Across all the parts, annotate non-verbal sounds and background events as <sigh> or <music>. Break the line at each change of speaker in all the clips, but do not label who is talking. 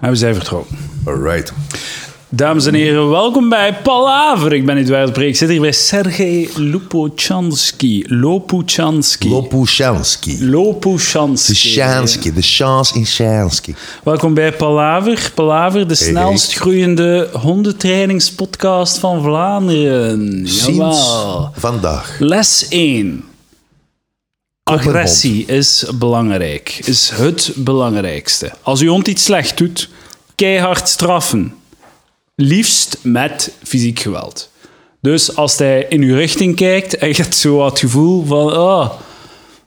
En we zijn vertrokken.
Alright.
Dames en heren, welkom bij Palaver. Ik ben Eduard Breek. Ik zit hier bij Sergej Lopushansky. Lopushansky.
Lopushansky.
Lopushansky.
De Shansky. De Chans in Shansky.
Welkom bij Palaver. Palaver, de snelst groeiende hondentrainingspodcast van Vlaanderen.
Sinds
Jawel.
vandaag.
Les 1.
hond.
Agressie is belangrijk. Is het belangrijkste. Als uw hond iets slecht doet, keihard straffen. Liefst met fysiek geweld. Dus als hij in uw richting kijkt en je hebt zo wat het gevoel van... Oh,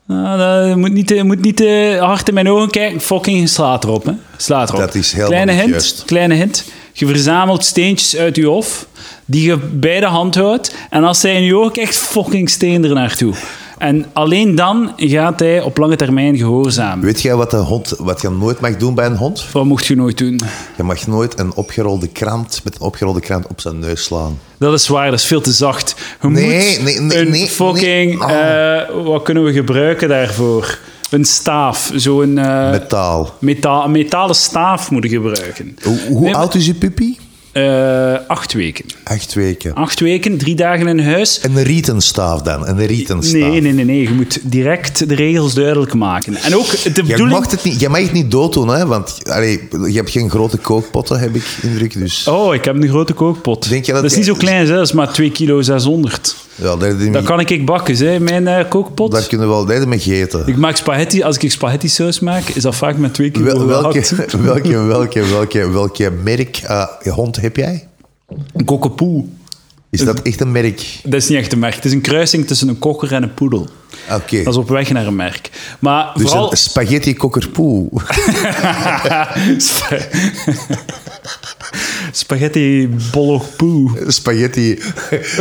nou, dat- je moet niet, je moet niet te hard in mijn ogen kijken. Fucking slaat erop. Hè. Slaat erop.
Dat is helemaal
kleine
niet
hint,
juist.
Kleine hint. Je verzamelt steentjes uit je hof, die je bij de hand houdt. En als hij in je ogen kijkt, fucking steen er naartoe. En alleen dan gaat hij op lange termijn gehoorzamen.
Weet jij wat, een hond, wat je nooit mag doen bij een hond?
Wat mocht je nooit doen?
Je mag nooit een opgerolde krant met een opgerolde krant op zijn neus slaan.
Dat is waar, dat is veel te zacht. Je
Nee,
moet
nee, nee,
een
nee,
fucking...
nee. Oh.
eh, wat kunnen we gebruiken daarvoor? Een staaf, zo'n... eh,
Metaal.
metaal, een metalen staaf moeten gebruiken.
Hoe, hoe
Nee, maar-
oud is je puppy?
Eh, acht weken.
Acht weken.
Acht weken, drie dagen in huis.
En een rietenstaaf dan? Een rietenstaaf.
Nee, nee, nee, nee. Je moet direct de regels duidelijk maken. En ook de
Jij
bedoeling...
mag, het niet, jij mag het niet dooddoen, hè? want allee, je hebt geen grote kookpotten, heb ik indruk. Dus,
Oh, ik heb een grote kookpot.
Denk je dat
dat is
jij-
niet zo klein, hè? dat is maar 2 kilo 600.
ja, daar,
Dat kan ik ik bakken, hè? mijn eh, kookpot.
daar kunnen we wel daar mee eten.
Ik maak spaghetti, als ik spaghetti saus maak, is dat vaak met 2 kilo
Wel-
gehakt.
welke, <laughs> welke, welke, welke, welke merk eh, hond heb jij?
Een kokkepoe.
Is dat echt een merk?
Dat is niet echt een merk. Het is een kruising tussen een kokker en een poedel.
Ah, Oké.
Dat is op weg naar een merk. Maar
Dus
vooral... <laughs>
een spaghetti kokkerpoe. <laughs>
Spa- <laughs> spaghetti bologpoe.
spaghetti.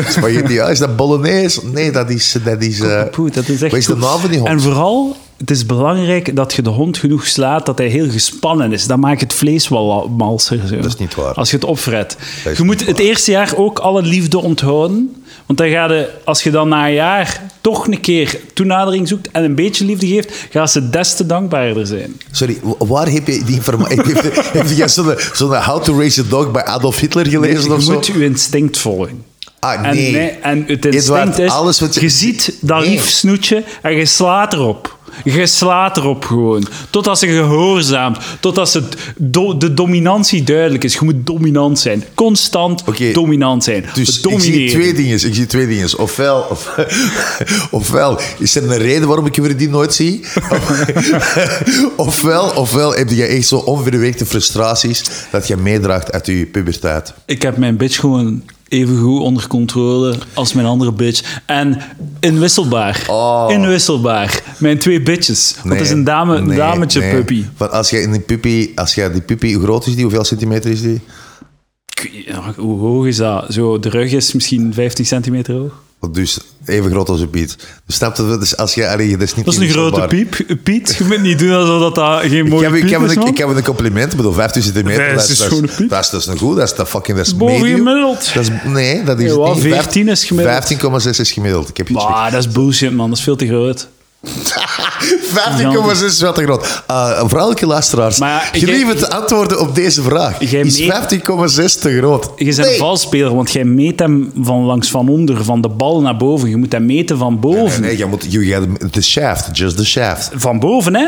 spaghetti ja, is dat bolognese? Nee, dat is. Dat is eh,
Poeh, dat is echt
Wat is de
goed.
naam van die hond?
En vooral, het is belangrijk dat je de hond genoeg slaat, dat hij heel gespannen is. Dan maakt het vlees wel la- malser. Zo. Dat
is niet waar.
Als je het opfret.
is
Je moet
niet
het eerste jaar ook alle liefde onthouden. Want dan ga je, als je dan na een jaar toch een keer toenadering zoekt en een beetje liefde geeft, gaan ze des te dankbaarder zijn.
Sorry, wa- waar heb je die informatie? <laughs> heb, heb jij zo'n zo'n How to Raise a Dog bij Adolf Hitler gelezen
Dus je
of zo?
moet je instinct volgen.
Ah,
En,
nee.
nee, en het instinct
Eduard,
is,
alles wat
je...
je-
ziet dat
Nee.
lief snoetje en je slaat erop. Je slaat erop gewoon. Totdat ze gehoorzaamt. Totdat ze do- de dominantie duidelijk is. Je moet dominant zijn. Constant
Oké.
dominant zijn.
Dus ik
Domineren.
zie twee dingen. Ik zie twee dingen. Ofwel, of, <laughs> ofwel is er een reden waarom ik jullie die nooit zie. <laughs> ofwel, ofwel heb je echt zo onverweekte frustraties dat je meedraagt uit je puberteit.
Ik heb mijn bitch gewoon even goed onder controle als mijn andere bitch. En inwisselbaar.
Oh.
Inwisselbaar. Mijn twee bitches. Want het is een dame,
nee,
dametje
nee.
puppy.
Want als jij in die puppy, als jij die puppy, hoe groot is die? Hoeveel centimeter is die?
Ik weet- ja, Hoe hoog is dat? Zo, de rug is misschien 15 centimeter hoog.
Dus even groot als een piet. Dus snap je? Dus als je, allee, dat is niet
Dat is een grote
inwisselbaar.
piep, Piet. Je moet niet doen alsof dat, dat geen
Ik
mooie
heb, ik,
piep
heb
is,
een,
man.
ik heb een compliment, ik bedoel 15 centimeter.
Nee,
dat,
is een
dat,
schone
dat,
piep.
is, dat is een goed, dat is de fucking dat is
Boven
medium.
gemiddeld.
Dat is, nee, dat is
Ja, wel,
niet.
14 is gemiddeld.
15,6 is gemiddeld. Ik heb iets
Maar dat is bullshit, man. Dat is veel te groot.
gezegd. 15,6 is wel te groot. Eh vooral elke luisteraars,
Maar ja, ik-
gelieve te antwoorden op deze vraag.
Jij
Is 15,6
meet-
te groot?
Je bent een
nee.
valspeler, want jij meet hem van langs van onder, van de bal naar boven. Je moet hem meten van boven.
Nee, nee, jij moet, je gaat de shaft, just the shaft.
Van boven, hè?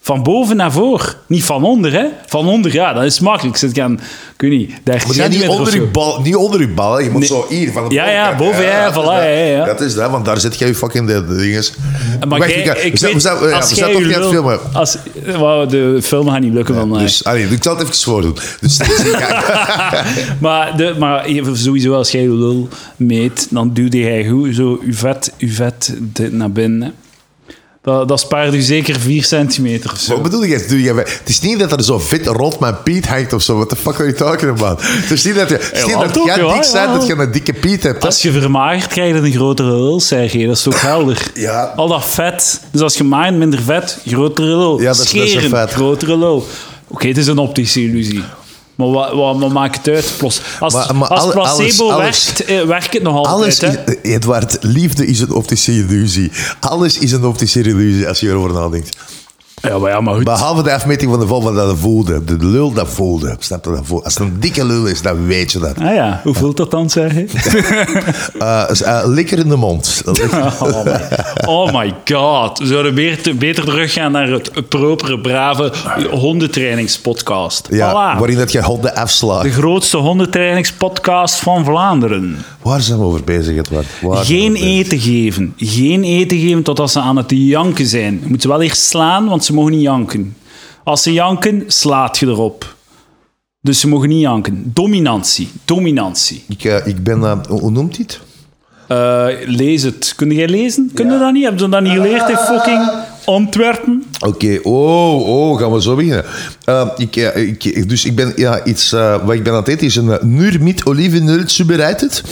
Van boven naar voor. Niet van onder, hè? Van onder, ja, dat is makkelijk. Zit ik aan, ik weet niet, 30
Maar ja, niet,
centimeter of
onder
zo.
je bal, niet onder je bal, hè. je moet
Nee.
zo hier van de
Ja,
bovenkant.
ja, boven, ja,
dat is
voilà,
dus dat.
ja, ja.
Dat is dat, want daar zit jij je fucking de, de dinges.
Maar jij-
ga-
ik
we zijn-
weet,
we zijn- ja,
als
we
jij
zijn toch
je
niet aan het
lul-
filmen.
Als, wauw, de film gaat niet lukken van mij.
Dus, allee, ik zal het even voordoen. Dus, <laughs>
<laughs> Maar, de, maar je- sowieso, als jij je lul meet, dan duwde jij goed zo je vet, je vet dit naar binnen. hè. Dat, dat spaart u zeker 4 centimeter of
wat
zo.
bedoel je? Doe je? Het is niet dat er zo vet rond mijn Piet hangt of zo. What the fuck are you talking about? Het is niet dat je het is niet
Ja,
dat
toch,
jij
ja,
dik bent
ja.
dat je een dikke Piet hebt. hè.
Als je vermagert, krijg je een grotere lul, zeg je. Dat is toch helder?
<laughs> Ja.
Al dat vet. Dus als je maait, minder vet, grotere lul.
Ja, dat is- dat is
Scheren,
een vet.
grotere lul. Oké, het is een optische illusie. Maar wat, wat, wat maakt het uit? Plos, als,
Maar- maar
als
alle-
placebo
alles- alles-
werkt, eh, werkt het nog altijd.
Alles
hè?
is, Edward, liefde is een optische illusie. Alles is een optische illusie als je erover nadenkt.
Ja, maar, ja, maar goed.
Behalve de afmeting van de volgende dat je voelde. De lul dat voelde. Snap je dat voelde? Als het een dikke lul is, dan weet je dat.
Ah ja, hoe voelt dat dan, zeg je?
Eh, dus, eh, likker in de mond.
Oh my, oh my god. We zouden beter, beter teruggaan naar het propere, brave hondentrainingspodcast.
<laughs> Ja,
Voilà.
Waarin dat je honden
De
afslaat.
grootste hondentrainingspodcast van Vlaanderen.
Waar zijn we over bezig, Edward? Waar zijn we
Geen
over bezig?
eten geven. Geen eten geven totdat ze aan het janken zijn. Je moet ze wel eerst slaan, want ze mogen niet janken. Als ze janken, slaat je erop. Dus ze mogen niet janken. Dominantie. Dominantie.
Ik, eh, ik ben... eh, hoe hoe noemt dit?
Eh, lees het. Kun jij lezen? Kun je dat niet? Hebben ze dat niet geleerd in fucking Antwerpen?
Oké, oh, oh, gaan we zo beginnen. Eh, ik, eh, ik, dus ik ben, ja, iets, eh, wat ik ben aan het eten is een uh, nurmit olivenöl zubereitet.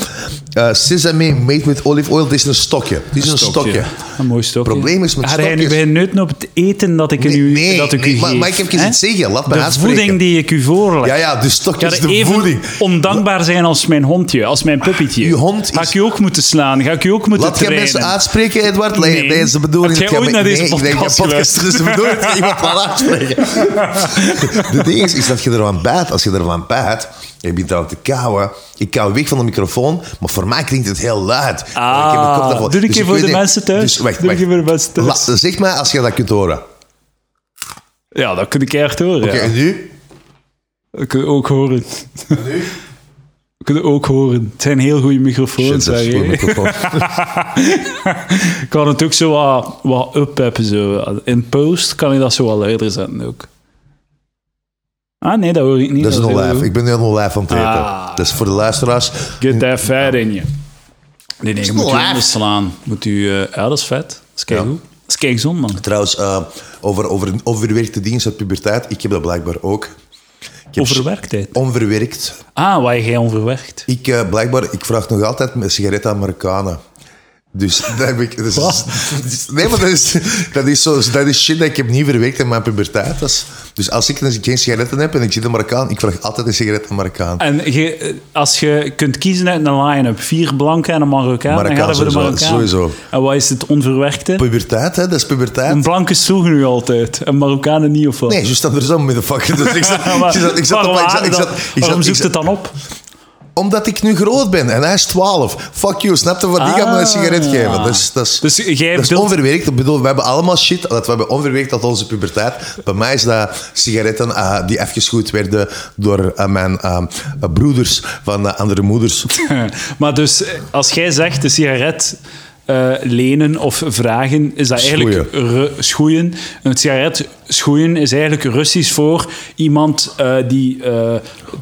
Eh sesame made with olive oil. Het is een stokje. Het is een stokje.
Een mooi stokje.
Probleem is met
Ga jij nu
stokjes-
bij neuten op het eten dat ik,
Nee,
u,
nee,
dat ik
nee,
u
maar-
geef?
maar ik heb
hè?
iets zeggen, laat me
De
uitspreken.
voeding die ik u voorleg.
Ja, ja, de
Ik
stokjes,
ga er
de
even
voeding.
ondankbaar zijn als mijn hondje, als mijn puppetje.
Uw hond
Ga
is-
ik je ook moeten slaan? Ga ik je ook moeten
Laat jij
trainen?
mensen aanspreken, Edward? Nee,
Nee.
nee, is de bedoeling.
Heb jij
dat
ooit
me-
naar deze
nee, ik denk,
podcast
ja, podcast is de bedoeling dat je iemand
<laughs>
laat aanspreken. de ding is, is dat je ervan bijt. Als je ervan bijt, je bent aan te kauwen. Ik kauw weg van de microfoon, maar voor mij klinkt het heel luid. Want
Ah,
ik heb mijn kop daarvoor. Dus
doe een keer
ik
voor
weet
de
niet-
mensen thuis.
Dus,
Doe
wacht,
een
wacht.
keer voor de mensen thuis.
La- zeg maar als je dat kunt horen. Oké,
Ja, dat kun ik echt horen. ja.
en nu?
We kunnen ook horen. <laughs> We kunnen ook horen. Het zijn heel goede microfoons.
Shit, dat
zeg
is voor de
je. <laughs>
microfoon.
Ik kan het ook zo wat, wat uppeppen. Zo. In post kan ik dat zo wat luider zetten ook. Ah nee, dat hoor ik niet.
Dat is
heel
nog live.
goed.
Ik ben nu nog live aan het eten.
Ah.
Dat is voor de luisteraars.
Get that fat in je. Nee, nee, je moet je
live.
onderslaan. Moet u, eh, ja, dat is vet. Dat is kei goed. Dat is kei gezond, man.
Trouwens, eh, over, over een overwerkte dienst uit puberteit. Ik heb dat blijkbaar ook. Ik heb
Overwerktheid.
Onverwerkt.
Ah, waar jij onverwerkt.
Ik, eh, blijkbaar, ik vraag nog altijd een sigaret aan Marokkanen. Dus <laughs> dat heb ik... dat is-
Wat?
dat is- nee, maar dat is, dat, is zo, dat is shit dat ik heb niet verwerkt in mijn puberteit. Dat is- dus als ik, als ik geen sigaretten heb en ik zie een Marokkaan, ik vraag altijd een sigaret aan Marokkaan.
En je, eh, als je kunt kiezen uit een line-up, vier blanke en een Marokkaan, dan gaat
Marokkaan
het voor de
sowieso,
Marokkaan.
sowieso.
En wat is het onverwerkte?
Puberteit, hè? Dat is puberteit.
Een blanke sloegen nu altijd, en Marokkanen niet of wat?
Nee, je staat er zo mee de fuck. <laughs> Dus ik zat,
<laughs> Maar
ik zat, ik zat, op- ik
waarom
zat, ik
dan?
zat, ik
Waarom
zat- ik
zoekt het
zat-
dan op?
Omdat ik nu groot ben en hij is 12. Fuck you, snap je? Wat die gaat me een sigaret geven. Dat is, dat is,
Dus jij
dat is
wilt-
onverwerkt. Ik bedoel, we hebben allemaal shit dat we hebben onverwerkt uit onze puberteit. Bij mij is dat sigaretten eh, die afgeschoeid werden door eh, mijn eh, broeders van eh, andere moeders.
<laughs> maar dus, eh, als jij zegt de sigaret eh, lenen of vragen, is dat eigenlijk ru- schoeien. Een sigaret schoeien is eigenlijk Russisch voor iemand eh, die eh 10%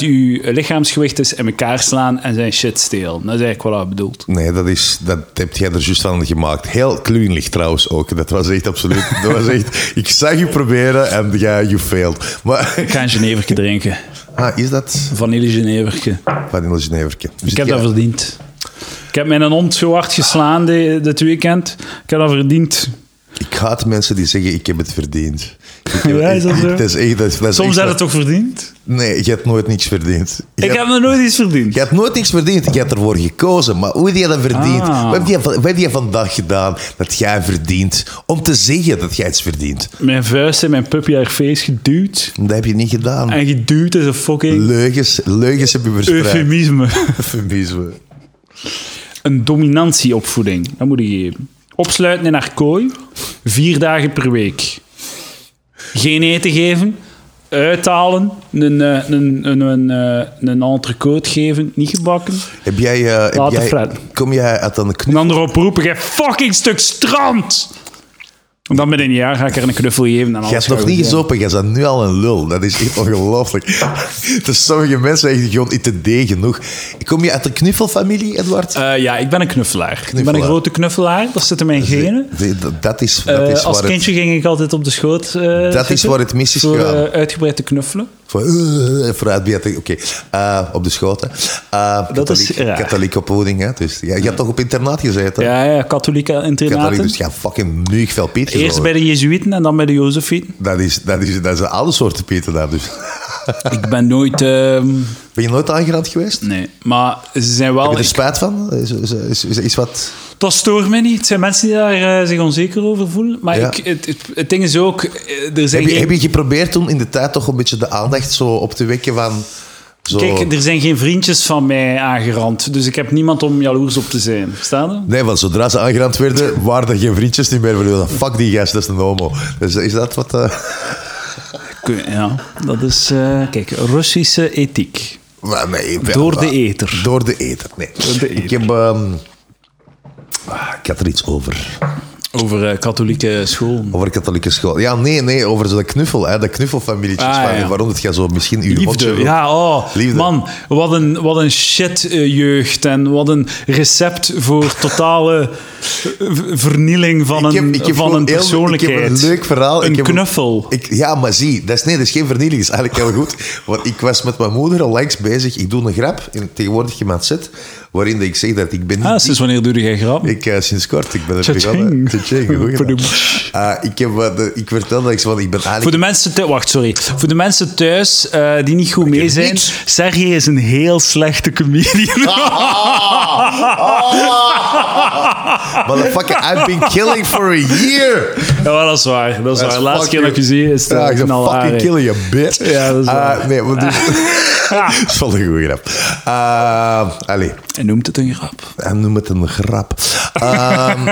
uw lichaamsgewicht is in elkaar slaan en zijn shit stelen. Dat is eigenlijk wat dat bedoelt.
Nee, dat, is, dat heb jij er juist van gemaakt. Heel klunlig trouwens ook. Dat was echt absoluut... Dat was echt, ik zag je proberen en jij, you failed. Maar... <laughs>
Ik ga een Geneverke drinken.
Ah, is dat
Vanille Geneverke.
van in Geneverke?
Ik heb dat verdiend. Ik heb mijn hond zo hard geslaan di- dit weekend. Ik heb dat verdiend.
Ik haat mensen die zeggen, ik heb het verdiend. Ik heb-
Ja,
<laughs>
is dat zo?
Dat is echt... Dat is, dat is
Soms
echt-
heb je het toch verdiend?
Nee, je hebt nooit niks verdiend. Je
Ik
hebt-
heb nog nooit iets verdiend.
Je hebt nooit niks verdiend. Je hebt ervoor gekozen. Maar hoe heb je dat verdiend?
Ah.
Wat, heb je, wat heb je vandaag gedaan dat jij verdient? Om te zeggen dat jij iets verdient.
Mijn vuist in mijn puppy haar face geduwd.
Dat heb je niet gedaan.
En geduwd is een fucking
Leugens, leugens heb je verspreid.
eufemisme. <laughs>
Eufemisme.
Een dominantieopvoeding, dat moet ik geven. Opsluiten in haar kooi, vier dagen per week. Geen eten geven, uithalen, een, eh, een, een, een, eh, een entrecote geven, niet gebakken.
Heb jij... eh, heb
Laat het
jij
fret.
kom jij uit een knuffel?
Een ander oproepen, jij fucking stuk strand! En dan binnen een jaar ga ik haar een knuffel geven en alles.
Je hebt
gaat
nog
goed
niet
zijn.
gezopen, je bent nu al een lul. Dat is
<laughs>
echt ongelooflijk. dus sommige mensen zijn echt gewoon niet te D genoeg. Kom je uit de knuffelfamilie, Edward?
Eh, ja, ik ben een knuffelaar. Ik ben een
Knuffelaar.
grote knuffelaar, dat zit in mijn genen.
De- de- Dat is, dat
Eh, als
is waar het...
kindje ging ik altijd op de schoot. eh, zitten
is waar het mis is
voor,
gegaan.
eh, uitgebreid te knuffelen.
Voor, eh, vooruit, Beatrix. Oké, Eh, op de schoten. Eh,
Dat is raar.
Katholieke opvoeding, hè. Dus, ja, je hebt toch op internaat gezeten?
Ja, ja katholieke
Katholiek,
internaten.
dus ja, fucking nuig veel Piet
Eerst
gezogen.
bij de Jezuïeten en dan bij de
<laughs>
Jozefieten.
dat, is, dat, is, dat is alle soorten Pieten daar, dus. <laughs>
Ik ben nooit... ehm,
Ben je nooit aangerand geweest?
nee, maar ze zijn wel...
Heb je er
ik-
spijt van? Is, is, is, is- is wat...
Dat stoort mij niet. Het zijn mensen die daar eh, zich onzeker over voelen. Maar
Ja.
ik, het, het, het ding is ook... eh, Er zijn
Heb je,
geen-
heb je geprobeerd toen in de tijd toch een beetje de aandacht zo op te wekken van... Zo...
Kijk, er zijn geen vriendjes van mij aangerand. Dus ik heb niemand om jaloers op te zijn. Verstaan je?
Nee, want zodra ze aangerand werden, waren er geen vriendjes niet meer. Voor Fuck die gast, dat is een homo. Dus is dat wat... eh, <laughs>
Kun- Ja, dat is... eh, kijk, Russische ethiek.
maar nee, wel,
Door de
maar-
eter.
Door de eter, nee.
de eter.
Ik heb... ehm, ah, ik had er iets over.
Over eh, katholieke school.
Over katholieke school. Ja, nee, nee, over de knuffel. Hè, de knuffelfamilietjes.
Ah,
waar-
ja.
Waarom dat jij zo misschien uw hotje
Liefde,
wil-
ja, oh.
Liefde.
Man, wat een, wat een shit-jeugd en wat een recept voor totale v- vernieling van een,
Ik heb- ik heb
van
gewoon
een
heel-
persoonlijkheid.
Ik heb een leuk verhaal.
Een
ik heb
knuffel.
Ik, ja, maar zie, dat is, nee, dat is geen vernieling. Dat is eigenlijk heel goed. Want ik was met mijn moeder al langs bezig. Ik doe een grap in tegenwoordig iemand zet, waarin ik zeg dat ik ben niet
Ah, sinds wanneer doe jij grap?
ik eh, sinds kort, ik ben er
Cha-ching.
begonnen. Cha-ching,
<laughs>
goed gedaan.
Padoem.
Eh, ik, heb, eh, de- ik vertel dat ik, want ik ben
Voor
eigenlijk...
de mensen thuis, wacht, sorry. Voor de mensen thuis eh, die niet goed mee
heb
zijn,
niks.
Sergej is een heel slechte comedian.
Ah.
<laughs>
Motherfucker, I've been killing for a
<laughs>
year!
ja, maar dat is waar. Dat is waar.
That's
De laatste
fuck
keer dat ik je
you.
zie is het
Ja, ik
eh,
zeg,
knalhaarig.
fucking killing you, bitch.
Ja, dat is
Eh,
waar. <laughs>
nee, maar dus... <laughs> dat is wel een goede grap. Eh, allee,
Hij noemt het een grap.
hij noemt het een grap. Ehm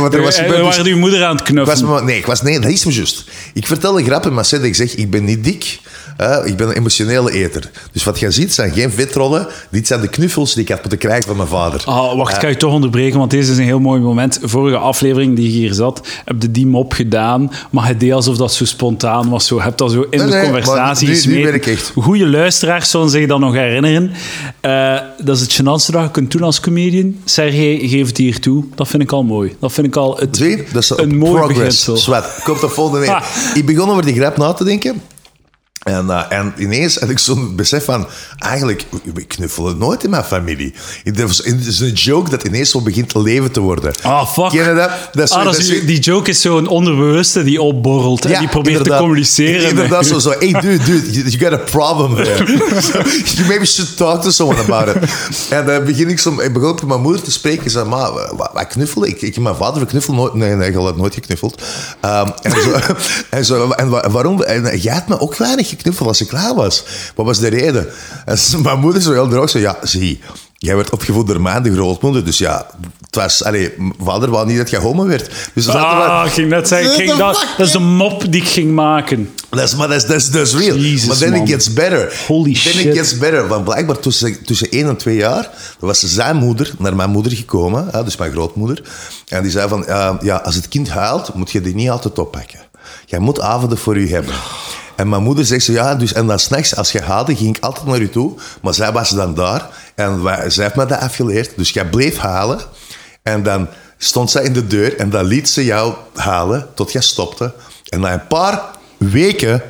wat er was
Eh,
gebeurd...
we
dus-
waren uw moeder aan het
Ik was
knuffelen.
me- nee, ik was, nee, dat is me juist. Ik vertel een grap in Macette. Ik zeg, ik ben niet dik. hè, ik ben een emotionele eter. Dus wat jij ziet, zijn geen vetrollen. Dit zijn de knuffels die ik had moeten krijgen van mijn vader.
Ah, wacht, kan ik toch onderbreken, want deze is een heel mooi moment. Vorige aflevering die je hier zat, heb je die mop gedaan, maar het deed alsof dat zo spontaan was. Zo, heb dat zo in
Nee,
de
nee, maar
conversatie
nu- nu
gesmeten.
ben ik echt.
Goede luisteraars zullen zich dat nog herinneren. Eh, dat is het gênantste dat je kunt doen als comedian. Sergej, geef het hier toe. Dat vind ik al mooi. Dat vind ik al het,
Zie, dat is
een mooi
progress.
beginsel.
Zwart, komt de volgende neer.
Ah. <laughs>
Ik begon over die grap na te denken. En, eh, en ineens had ik zo'n besef van... Eigenlijk, ik knuffel het nooit in mijn familie. Het is- het is een joke dat ineens zo begint te leven te worden.
Ah, fuck.
Ken je dat? Dat is-
Ah, dat is-
dat is-
die joke is zo'n onderbewuste die opborrelt en die probeert
inderdaad.
te communiceren.
Inderdaad, zo, zo. Hey, dude, dude, you, you got a problem there.
<laughs>
you maybe should talk to someone about it. En dan begin ik, zo, ik begon ik met mijn moeder te spreken. Ik zei, ma, wat, wat knuffel? Ik, ik, mijn vader knuffel nooit. Nee, nee, ik had nooit geknuffeld. Ehm, en, zo, <laughs> en, zo, en wa- waarom? En, eh, jij had me ook weinig geknuffeld als ik klaar was. Wat was de reden? En ze- mijn moeder zo heel droog. Zo, ja, zie, jij werd opgevoed door mijn de grootmoeder. Dus ja, het was... Allee, mijn vader wou niet dat jij homo werd. Dus dat
Ah, ik ging net zeggen, ik ging dat, dat is de mop die ik ging maken.
Dat is, maar dat is, dat is, dat is real.
Jezus,
maar then
man.
it gets better.
Holy
then
shit.
it gets better. Want blijkbaar tussen, tussen 1 en 2 jaar was zijn moeder naar mijn moeder gekomen. hè, dus mijn grootmoeder. En die zei van, eh, ja, als het kind huilt, moet je die niet altijd oppakken. Jij moet avonden voor u hebben. En mijn moeder zegt zo, ja, dus, en dan s'nachts als je haalde, ging ik altijd naar u toe. Maar zij was dan daar. En wij, zij heeft me dat afgeleerd. Dus jij bleef halen. En dan stond zij in de deur en dan liet ze jou halen tot jij stopte. En na een paar weken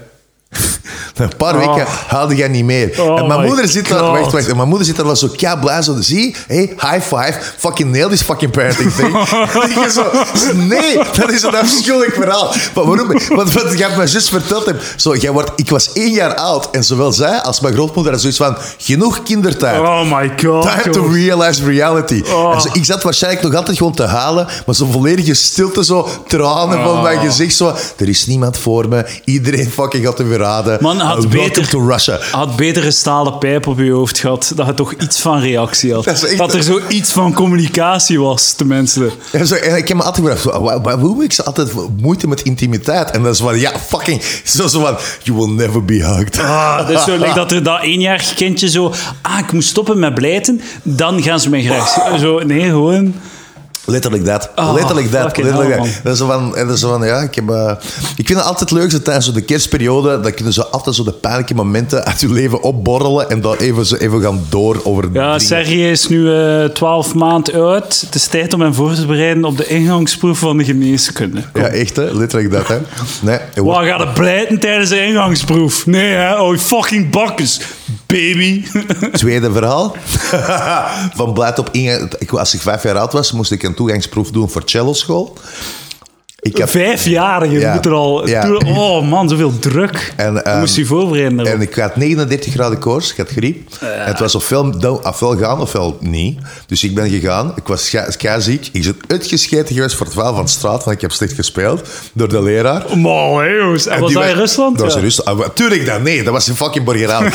na een paar weken haalde jij niet meer.
Ah. Oh
en mijn
my
moeder zit daar,
God.
wacht, wacht. En mijn moeder zit daar wel zo kei blij, zo, zie, hey, high five, fucking nail this fucking parenting
<laughs>
thing. <laughs> Ik ben zo, nee, dat is een afschuwelijk verhaal. Maar waarom? Want wat jij mijn zus verteld hebt, zo, jij wordt, ik was één jaar oud en zowel zij als mijn grootmoeder had zoiets van, genoeg kindertijd.
Oh my god.
Time
joh.
to realize reality.
Oh.
En zo, ik zat waarschijnlijk nog altijd gewoon te halen, maar zo'n volledige stilte, zo tranen van mijn
Oh.
gezicht. Zo, er is niemand voor me. Iedereen fucking gaat hem weer raden.
Man, had
Uh, welcome
beter-
to Russia.
had beter een stalen pijp op je hoofd gehad, dat je toch iets van reactie had.
Dat
Dat,
is echt-
er zoiets van communicatie was, tenminste.
En zo, en ik heb me altijd gedacht, wa- wa- waarom heb ik ze altijd moeite met intimiteit? En dat is van, ja, fucking, zo, zo van, you will never be hugged.
Ah, dus
<laughs>
zo, like dat er dat eenjarig kindje zo... Ah, ik moet stoppen met blijten, dan gaan ze mij graag... Zo, nee, gewoon...
Letterlijk dat.
Oh,
letterlijk dat.
fucking
Letterlijk
hell,
dat.
man.
Dat is zo van, en dat is zo van ja, ik, heb, eh, ik vind het altijd leuk dat tijdens zo de kerstperiode, dat kunnen ze altijd zo de pijnlijke momenten uit je leven opborrelen en dan even, zo even gaan door over
Ja,
dingen.
Sergej is nu eh, twaalf maand oud. Het is tijd om hem voor te bereiden op de ingangsproef van de geneeskunde.
Ja, echt hè, letterlijk dat hè. Nee, het wordt-
Waar gaat het blijten tijdens de ingangsproef? Nee, hè? Oh, fucking bakkes, baby.
tweede verhaal. <laughs> van blijft op ingang. Ik, als ik vijf jaar oud was, moest ik een toegangsproef doen voor celloschool. Ik heb,
Vijf jaar, je
Ja.
moet er al...
Ja.
toe- Oh man, zoveel druk.
En,
je
ehm,
moest je voorbereiden daarop.
en ik had 39 graden koorts, ik had griep. En het was ofwel, dan- ofwel gaan ofwel niet. Dus ik ben gegaan, ik was scha- schaaziek. Ik ben uitgescheten geweest voor het verhaal van de straat, want ik heb slecht gespeeld door de leraar.
Maar Oh, hé, jongens, en was
Die
dat in
werd-
Rusland?
Dat was
Ja.
in Rusland. Ah, Tuurlijk dan, nee, dat was in fucking
<laughs>
Borgeraan.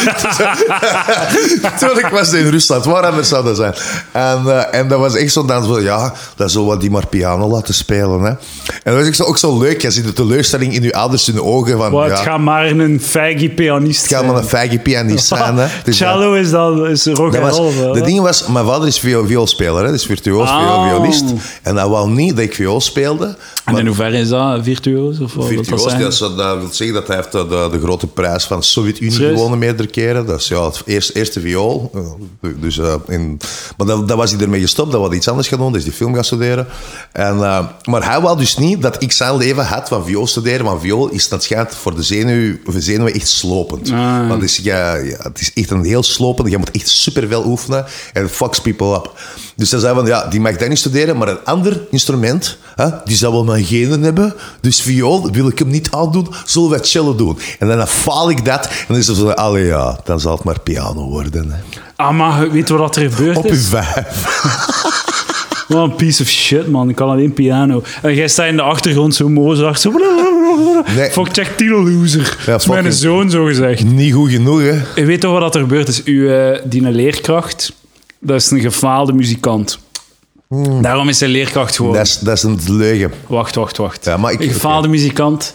Tuurlijk was het in Rusland, waar anders zou dat zijn? En, eh, en dat was echt zo'n dans van, ja, dat zo wat die maar piano laten spelen. Hè. En dat was echt zo, ook zo leuk, je ziet de teleurstelling in je ouders, in de ogen van,
Maar
ja,
Het gaat maar een faggy pianist
het gaat maar een faggy pianist zijn.
<laughs>
Hè. Dus ja.
Cello is dan is rock
Dat
and roll.
was,
wel,
de
hè?
ding was, mijn vader is viool- vioolspeler, hè, dus virtuoos, viool-
Ah.
violist. En dat wou niet dat ik viool speelde.
En in hoeverre is dat virtuoos? Of wat wil dat
Virtuoos,
zijn?
dat, is- dat wil zeggen dat hij heeft de, de, de grote prijs van de Sovjet-Unie
Serieus?
gewonnen meerdere keren. Dat is ja, het eerste, eerste viool. Eh, Dus, eh, in, maar dat, dat was hij ermee gestopt. Dat was iets anders gaan doen. Dus die film gaan studeren. En, eh, maar hij wou dus niet dat ik zijn leven had van viool studeren. Want viool is dat schijnt voor de zenuw, voor de zenuwen echt slopend.
Ah.
Want het is, ja, ja, het is echt een heel slopend. Je moet echt superveel oefenen. En it fucks people up. Dus hij zei van, ja, die mag dat niet studeren. Maar een ander instrument, hè, die zou wel mijn genen hebben. Dus viool wil ik hem niet aandoen. Zullen wij cello doen? En dan faal ik dat. En dan is het zo, allee ja, dan zal het maar piano worden. Hè.
Ah, maar weet je wat er gebeurd
Op uw
is?
vijf.
Wat een piece of shit, man. Ik kan alleen piano. En jij staat in de achtergrond zo Mozart. Zo...
Nee.
Fuck, check Tilo loser. dat is
fuck
mijn
you.
zoon, zo gezegd.
Niet goed genoeg, hè.
Je weet toch wat er gebeurd is? Uw eh, die een leerkracht, dat is een gefaalde muzikant. Daarom is hij leerkracht geworden.
Dat is, dat is een leugen.
Wacht, wacht, wacht.
Ja, maar ik-
een gefaalde muzikant.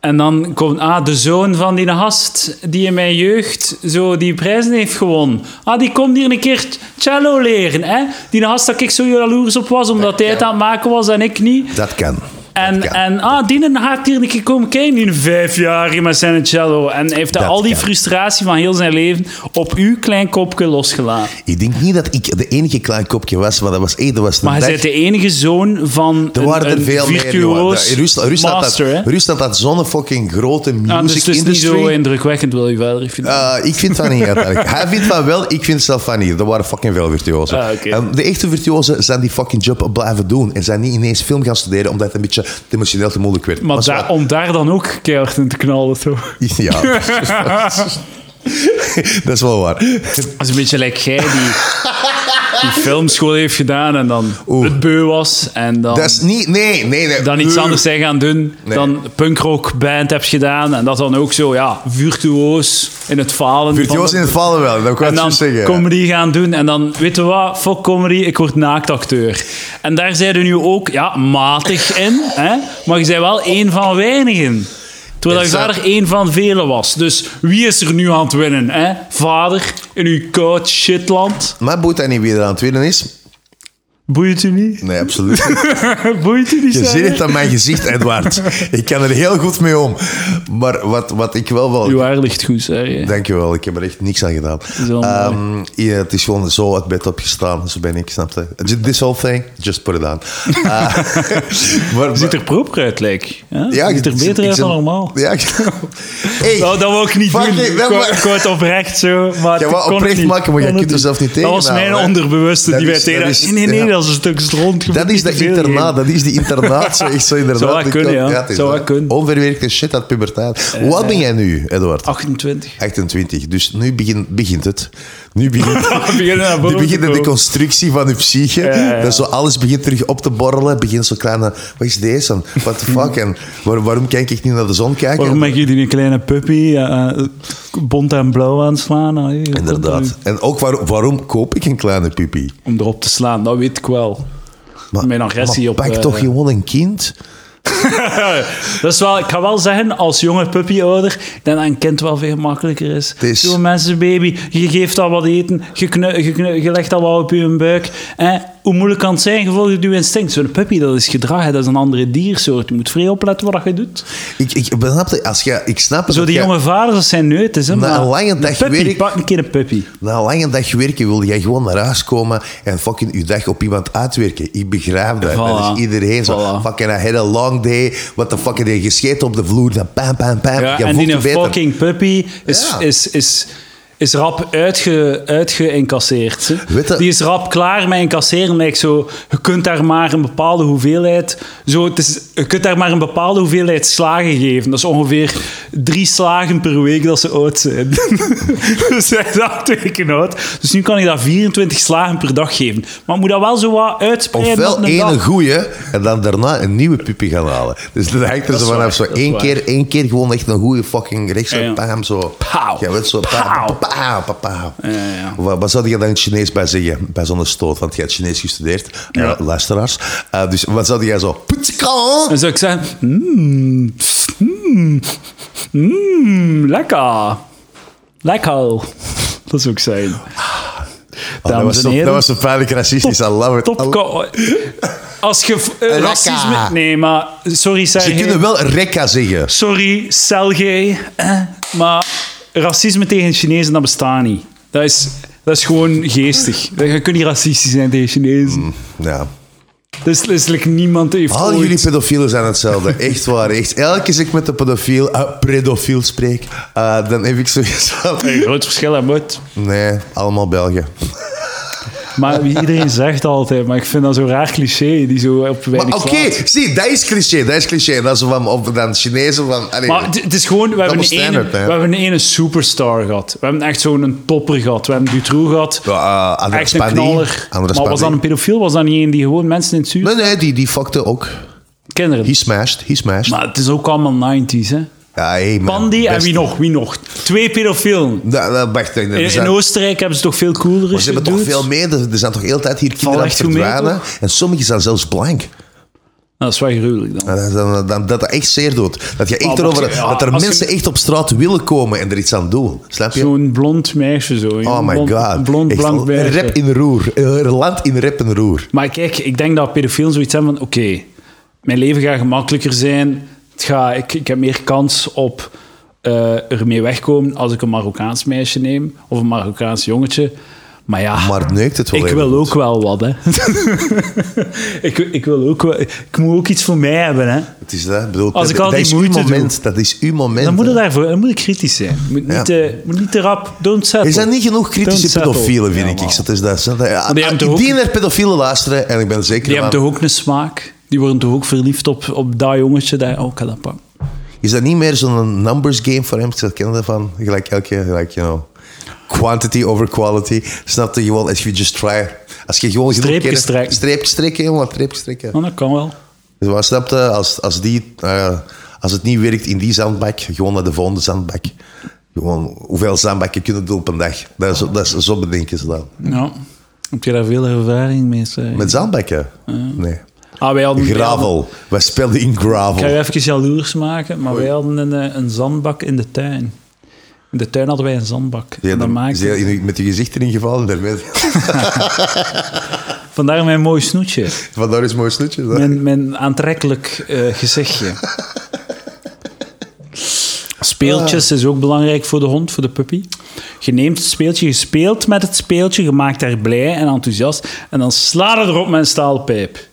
En dan komt ah, de zoon van die gast die in mijn jeugd zo die prijzen heeft gewonnen. Ah, die komt hier een keer cello leren. Hè? Die gast dat ik zo jaloers op was, omdat hij het aan het maken was en ik niet.
Dat kan.
En,
kan.
en ah, die gaat hier een keer komen kijken, die vijf jaar met zijn cello. En heeft hij
Dat
al die
kan.
frustratie van heel zijn leven op uw klein kopje losgelaten.
Ik denk niet dat ik de enige klein kopje was, maar dat was één, dat was de
Maar hij
dag-
bent de enige zoon van
Er waren
een,
er
een
veel meer. jongen.
virtuoos
Ja, Rusland, Rusland,
master. hè?
had, Rusland had zo'n fucking grote music
Ah, dus het is niet
industry.
zo indrukwekkend, wil je verder? Ik vind het-
Eh, ik vind van niet
<laughs>
uiteindelijk. Hij vindt van wel, ik vind zelf van niet. Er waren fucking veel virtuozen.
Ah, oké.
En de echte virtuozen zijn die fucking job blijven doen. En zijn niet ineens film gaan studeren omdat het een beetje te emotioneel te moeilijk werd.
maar
Was
daar,
wel- <laughs>
om daar dan ook keihard in te knallen, toch?
Ja, <laughs> dat is wel waar.
Dat is een beetje like jij <laughs> die, die filmschool heeft gedaan en dan het beu was en dan,
Dat is niet... Nee, nee, nee.
dan iets
Eh,
anders zijn gaan doen
Nee.
dan punkrockband hebt gedaan en dat dan ook zo, ja, virtuoos in het falen. van-
Virtuozen in het vallen wel, dat kan
en
ik
dan
zo zeggen.
comedy gaan doen. En dan, weet je wat, fuck comedy, ik word naaktacteur. En daar zijn we nu ook ja, matig in. Hè? Maar je bent wel één van weinigen. Terwijl je
Exact.
vader één van velen was. Dus wie is er nu aan het winnen? Hè? Vader, in uw koud shitland.
Maar boeit dat niet wie er aan het winnen is?
Boeit u niet?
Nee, absoluut
<laughs>
niet.
Boeit u niet,
Je ziet
Sarah?
het aan mijn gezicht, Edward. Ik kan er heel goed mee om. Maar wat, wat ik wel wel...
Uw haar ligt goed, zeg
Dankjewel, ik heb er echt niks aan gedaan.
wel mooi.
Ehm, ja, het is gewoon zo uit bed opgestaan, zo ben ik, snap je? This whole thing, just put it
<laughs>
on. Eh, <laughs> maar-
Ziet er proper uit, lijk. Hè?
ja,
ziet er
ik-
beter
ik
uit
zit-
dan normaal.
Ja,
<laughs>
ik- hey,
Nou, dat wil ik niet
Fuck
doen.
nee,
Ik
dat
wou-
maar-
ik wou het oprecht zo, maar
wou
het kon
oprecht
niet.
maken, maar jij
Kon
kunt
het
er zelf niet
Dat was
tegenhouden,
mijn
hè.
onderbewuste
Dat
die mij
is- dat
tegen...
is-
Nee, nee, nee,
ja.
dat is een stuk rond. je
dat
moet
is
<laughs> niet
dat
te veel
internaat,
geven.
dat is die internaat. Zo, echt zo inderdaad.
<laughs> Zou wel
Ik
kunnen,
kan-
ja.
het is
Zou wel
dat.
kunnen.
Onverwerkte shit uit puberteit. Hoe oud ben jij nu, Edward?
28. <laughs>
28, dus nu begin- begint het. Nu begint,
We beginnen naar
Nu
boven te
begint de
komen.
constructie van je psyche.
ja, ja.
Dat zo alles begint terug op te borrelen. Begint zo kleine... Wat is deze? En What the fuck? En waar- waarom kijk ik niet naar de zon kijken?
Waarom ben je die een kleine puppy eh, eh, bont en blauw aan het slaan? Nou, hier, komt dat
Inderdaad. En ook waar- waarom koop ik een kleine pipi?
nu. Om erop te slaan, dat weet ik wel.
Maar,
Mijn agressie
maar
op,
pak
eh,
toch gewoon een kind?
Dat is wel, ik ga wel zeggen, als jonge puppyouder, ik denk dat een kind wel veel makkelijker is.
is-
Zo'n mensenbaby, je geeft dat wat eten, je, knu, je, knu- je legt dat wat op je buik. En hoe moeilijk kan het zijn, gevolgd je instinct. Zo'n puppy, dat is gedrag, hè, dat is een andere diersoort. Je moet vrij opletten wat je doet.
Ik, ik, snap het, als je, ik snap het.
Zo
dat
die
jij-
jonge vaders, dat zijn neutjes. Hè,
Na
maar
een lange dag
puppy,
werk-
pak een keer een puppy.
Na een lange dag werken wil jij gewoon naar huis komen en fucking je dag op iemand uitwerken. Ik begrijp dat. Dat is iedereen zo.
Voilà.
Fucking I had a long day. What the fuck, je gescheten op de vloer. Dan pam, pam, pam.
Ja,
je
en
voelt
die
je
een
beter.
fucking puppy is,
Ja.
is, is, is rap uitge, uitgeïncasseerd. hè.
Weet je-
Die is rap klaar met incasseren. Like zo, je kunt daar maar een bepaalde hoeveelheid... Zo, het is, je kunt daar maar een bepaalde hoeveelheid slagen geven. Dat is ongeveer drie slagen per week dat ze oud zijn. <laughs> dus hij is al twee weken oud. Dus nu kan ik dat 24 slagen per dag geven. Maar ik moet dat wel zo wat uitspreiden op
Ofwel
een
één
dag.
goeie en dan daarna een nieuwe puppy gaan halen. Dus dan hangt er
Dat
zo
is
vanaf
waar,
zo
dat is
één
waar.
keer, één keer gewoon echt een goede fucking rechts
Ja.
en paam zo.
Pauw.
Ja, weet zo.
Pauw.
Pauw, pauw, pauw, pauw.
ja.
Wat, wat zou je dan in het Chinees bij zeggen? Bij zo'n stoot, want je hebt Chinees gestudeerd. Ja. luisteraars. Eh, dus wat zou jij zo... Putsikan!
Dan zou ik zeggen... Mmm, mmm, mmm, lekker. Lekker. Dat zou ik zijn.
Oh, dat, was
Dames en
zo dat
heren,
was zo pijnlijk racistisch. I love it. I love-
topko... Als je eh,
Lekker.
racisme... Nee, maar sorry,
Ze
Sergej.
kunnen wel rekka zeggen.
Sorry, Sergej. eh, Maar racisme tegen Chinezen, dat bestaat niet. Dat is, dat is gewoon geestig. Je kunt niet racistisch zijn tegen Chinezen.
Ja.
Dus letterlijk niemand heeft
Mm. Al
ooit-
<laughs> jullie pedofielen zijn hetzelfde. Echt waar. Echt. Elke keer als ik met de pedofiel, eh, predofiel spreek, eh, dan heb ik zoiets van...
Een groot verschil aan moet.
Nee, allemaal Belgen.
Maar wie- iedereen zegt altijd, maar ik vind dat zo'n raar cliché die zo op
Maar
weinig
oké,
slaat.
zie, dat is cliché. Dat is cliché. Dat is van, of dan Chinezen van... allee.
Maar het- het is gewoon, we hebben,
Double
een ene,
standard,
we
hè.
hebben een ene superstar gehad. We hebben echt zo'n topper gehad. We hebben Dutroux gehad.
Ja, eh, André
echt een
Spandy.
knaller.
André
maar was
Spandy.
dat een pedofiel? Was dat niet een die gewoon mensen in het zuur...
Nee, nee, die, die fuckte ook.
Kinderen.
He smashed, he smashed.
Maar het is ook allemaal 90s, hè?
ja, hey, man,
Pandy en
best-
wie nog? Wie nog? Twee pedofielen.
Da, da, wacht, er
In,
zijn-
in Oostenrijk hebben ze toch veel coolere
maar ze hebben toch
shit,
veel
dudes?
meer. Er er zijn toch heel de tijd hier kinderen aan het
echt goed mee,
verdwijnen. En sommigen zijn zelfs blank.
Dat is wel gruwelijk dan.
Dat, dat, dat, dat echt zeer doet. Dat, je echt
Ah, Maar
erover,
wacht, ja,
dat er
als je-
mensen echt op straat willen komen en er iets aan doen. Snap je?
Zo'n blond meisje zo.
Oh
jong.
my
blond,
god.
Blond,
Echt
blank meisje.
Rep in roer. Eh, Land in rep en roer.
Maar kijk, ik denk dat pedofielen zoiets hebben van... Oké, mijn leven gaat gemakkelijker zijn. Het gaat, ik, ik heb meer kans op eh ermee wegkomen als ik een Marokkaans meisje neem. Of een Marokkaans jongetje. Maar ja...
Maar het neukt het wel
ik
even
wil
goed.
ook wel wat, hè. <laughs> ik, ik wil ook wel... Ik moet ook iets voor mij hebben, hè.
Het is dat. Ik bedoel,
Als
dat,
ik al
dat
die
is uw
moeite
moment. Dat is uw moment.
Dan moet, je
hè.
daarvoor, dan moet je kritisch zijn. Je moet niet,
Ja.
eh, moet niet te rap... Don't settle.
Er zijn niet genoeg
Don't
kritische
settle.
pedofielen,
Ja,
vind ik.
man.
Dat is dat. dat- ja,
die hebben
Ah, die
toch ook-
naar pedofielen luisteren en ik ben er zeker
Die
van-
hebben toch ook een smaak? Die worden toch ook verliefd op, op dat jongetje? Dat, oh, ik ga dat pakken.
Is dat niet meer zo'n numbers game voor hem? Ik ken daarvan. Gelijk elke, gelijk, you know. Quantity over quality. Snap je gewoon, als je just try. Als je gewoon genoeg
Streepjes
keer-
trekken.
Streepjes trekken, jongen. Streepjes trekken.
Nou, dat kan wel.
Dus wat snap je? Als, als, die, eh, als het niet werkt in die zandbak, gewoon naar de volgende zandbak. Gewoon, hoeveel zandbakken kunnen doen op een dag? Dat is, dat is, zo bedenken ze dan.
Ja. Heb je daar veel ervaring mee? zeg?
Met zandbakken? Nee.
Ah, wij hadden,
Gravel. Wij spelen in
Ik ga
gravel.
je even jaloers maken, maar wij hadden een, eh, een zandbak in de tuin. In de tuin hadden wij een zandbak.
Ja,
en dat
dan-
maakte...
ze- in- met je gezicht erin gevallen. <laughs> daarmee-
Vandaar mijn mooi snoetje.
Vandaar is een mooi snoetje. hè?
Mijn, mijn aantrekkelijk eh,
<laughs>
gezichtje. Speeltjes is ook belangrijk voor de hond, voor de puppy. Je neemt het speeltje, je speelt met het speeltje, je maakt haar blij en enthousiast. En dan sla je erop met een staalpijp.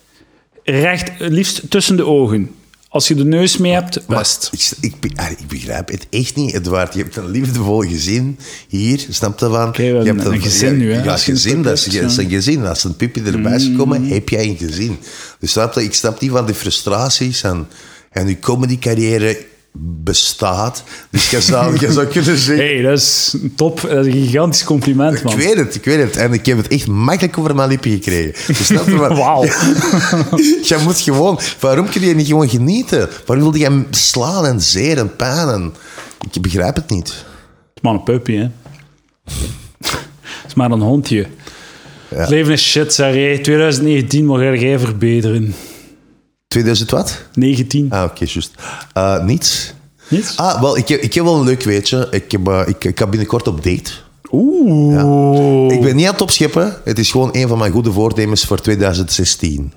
Recht, eh, liefst tussen de ogen. Als je de neus mee hebt, best.
Ik, ik, be- ah, ik begrijp het echt niet, Edouard. Je hebt een liefdevol gezin hier, snap je van?
we
je
hebben
hebt
een gezin
ja,
nu, hè,
Ja,
als je een
gezin,
puppy
dat is,
hebt,
dat is
ja. Mm.
een gezin. Als een puppy erbij is gekomen, heb jij een gezin. Dus snap je, ik snap niet van die frustraties en, en je comedy carrière bestaat. Dus
<laughs>
je zou, je zou kunnen zeggen...
hey, dat is top. Dat is een gigantisch compliment, man.
Ik weet het, ik weet het. En ik heb het echt makkelijk over mijn lippen gekregen. Dus snap
<laughs>
je wat?
Wauw.
<laughs> Jij moet gewoon... Waarom kun je niet gewoon genieten? Waarom wil je slaan en zeer en pijn? En... Ik begrijp het niet.
Maar een puppy, hè. Het is maar een hondje. Het leven is shit, Saré. 2019 mag er jij verbeteren.
2000 wat?
19.
Ah, oké, juist. Eh, niets.
Niets?
Ah, wel, ik heb, ik heb wel een leuk weetje. Ik, heb, eh, ik, ik ga binnenkort op date.
Oeh. Oh.
Ik ben niet aan het opschippen. Het is gewoon een van mijn goede voornemens voor 2016.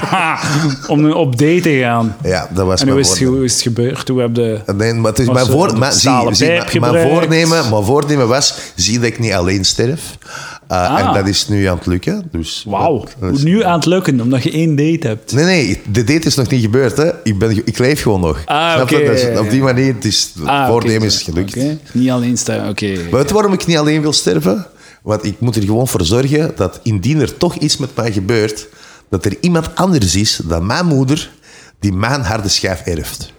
<laughs> Om nu op date te gaan.
Ja, dat was
En hoe
mijn
is, het,
voornemen.
hoe is het gebeurd? Hoe heb je...
Nee, maar het is
Was
mijn,
er
voor,
een
maar, zie,
stalen
zie,
pijp
mijn, mijn
gebruikt?
voornemen, mijn voornemen was, zie dat ik niet alleen sterf. Eh,
Ah.
En dat is nu aan het lukken. Dus
Wauw.
dat- dat is-
Nu aan het lukken, omdat je één date hebt.
Nee, nee, de date is nog niet gebeurd. Hè. Ik, ben, ik leef gewoon nog.
Ah,
Snap je?
oké.
Dat is- op die manier, het, is, het
Ah, oké,
voornemen is
zo.
gelukt.
Oké. Niet alleen staan, oké.
Weet je waarom ik niet alleen wil sterven? Want ik moet er gewoon voor zorgen dat indien er toch iets met mij gebeurt, dat er iemand anders is dan mijn moeder die mijn harde schijf erft.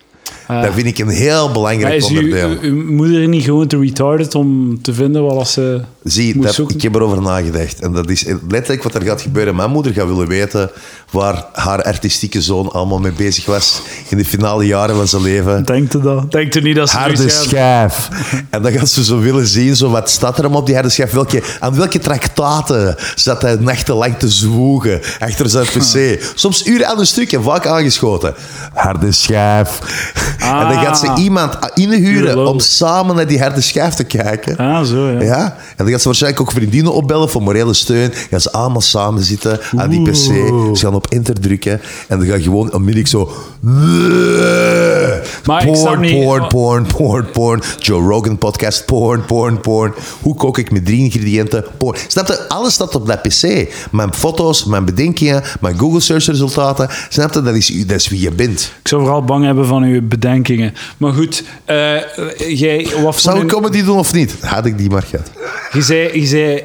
Dat vind ik een heel
Ah. Maar
belangrijk
is uw,
onderdeel.
uw- uw moeder niet gewoon te retarded om te vinden wat als ze
Zie,
moet
dat,
zoeken?
ik heb erover nagedacht. En dat is letterlijk wat er gaat gebeuren. Mijn moeder gaat willen weten waar haar artistieke zoon allemaal mee bezig was in de finale jaren van zijn leven.
Denkt u dat? Denkt u niet dat ze
Harde
zoiets hebben?
schijf. <laughs> En dan gaat ze zo willen zien, zo wat staat er hem op die harde schijf. Welke, aan welke traktaten zat hij nachtenlang te zwoegen achter zijn <laughs> pc. Soms uren aan een stuk en vaak aangeschoten. Harde schijf. Ah. En dan gaat ze iemand inhuren
Jawel.
om samen naar die harde schijf te kijken.
Ah, zo, ja.
Ja, en dan gaat ze waarschijnlijk ook vriendinnen opbellen voor morele steun. Gaan ze allemaal samen zitten aan die pc. Ze gaan op enter drukken en dan gaat gewoon onmiddellijk zo...
Maar ik
porn,
snap niet-
porn, porn, porn, porn. Joe Rogan podcast, porn, porn, porn. Hoe kook ik met drie ingrediënten? Porn. Snap je? Alles staat op dat pc. Mijn foto's, mijn bedenkingen, mijn Google search resultaten. Snap je? Dat is, u- dat is wie je bent.
Ik zou vooral bang hebben van uw bedenkingen. Maar goed, eh, jij... Wat voor
Zou
een-
ik comedy doen of niet? Had ik die maar gehad.
Je zei, je zei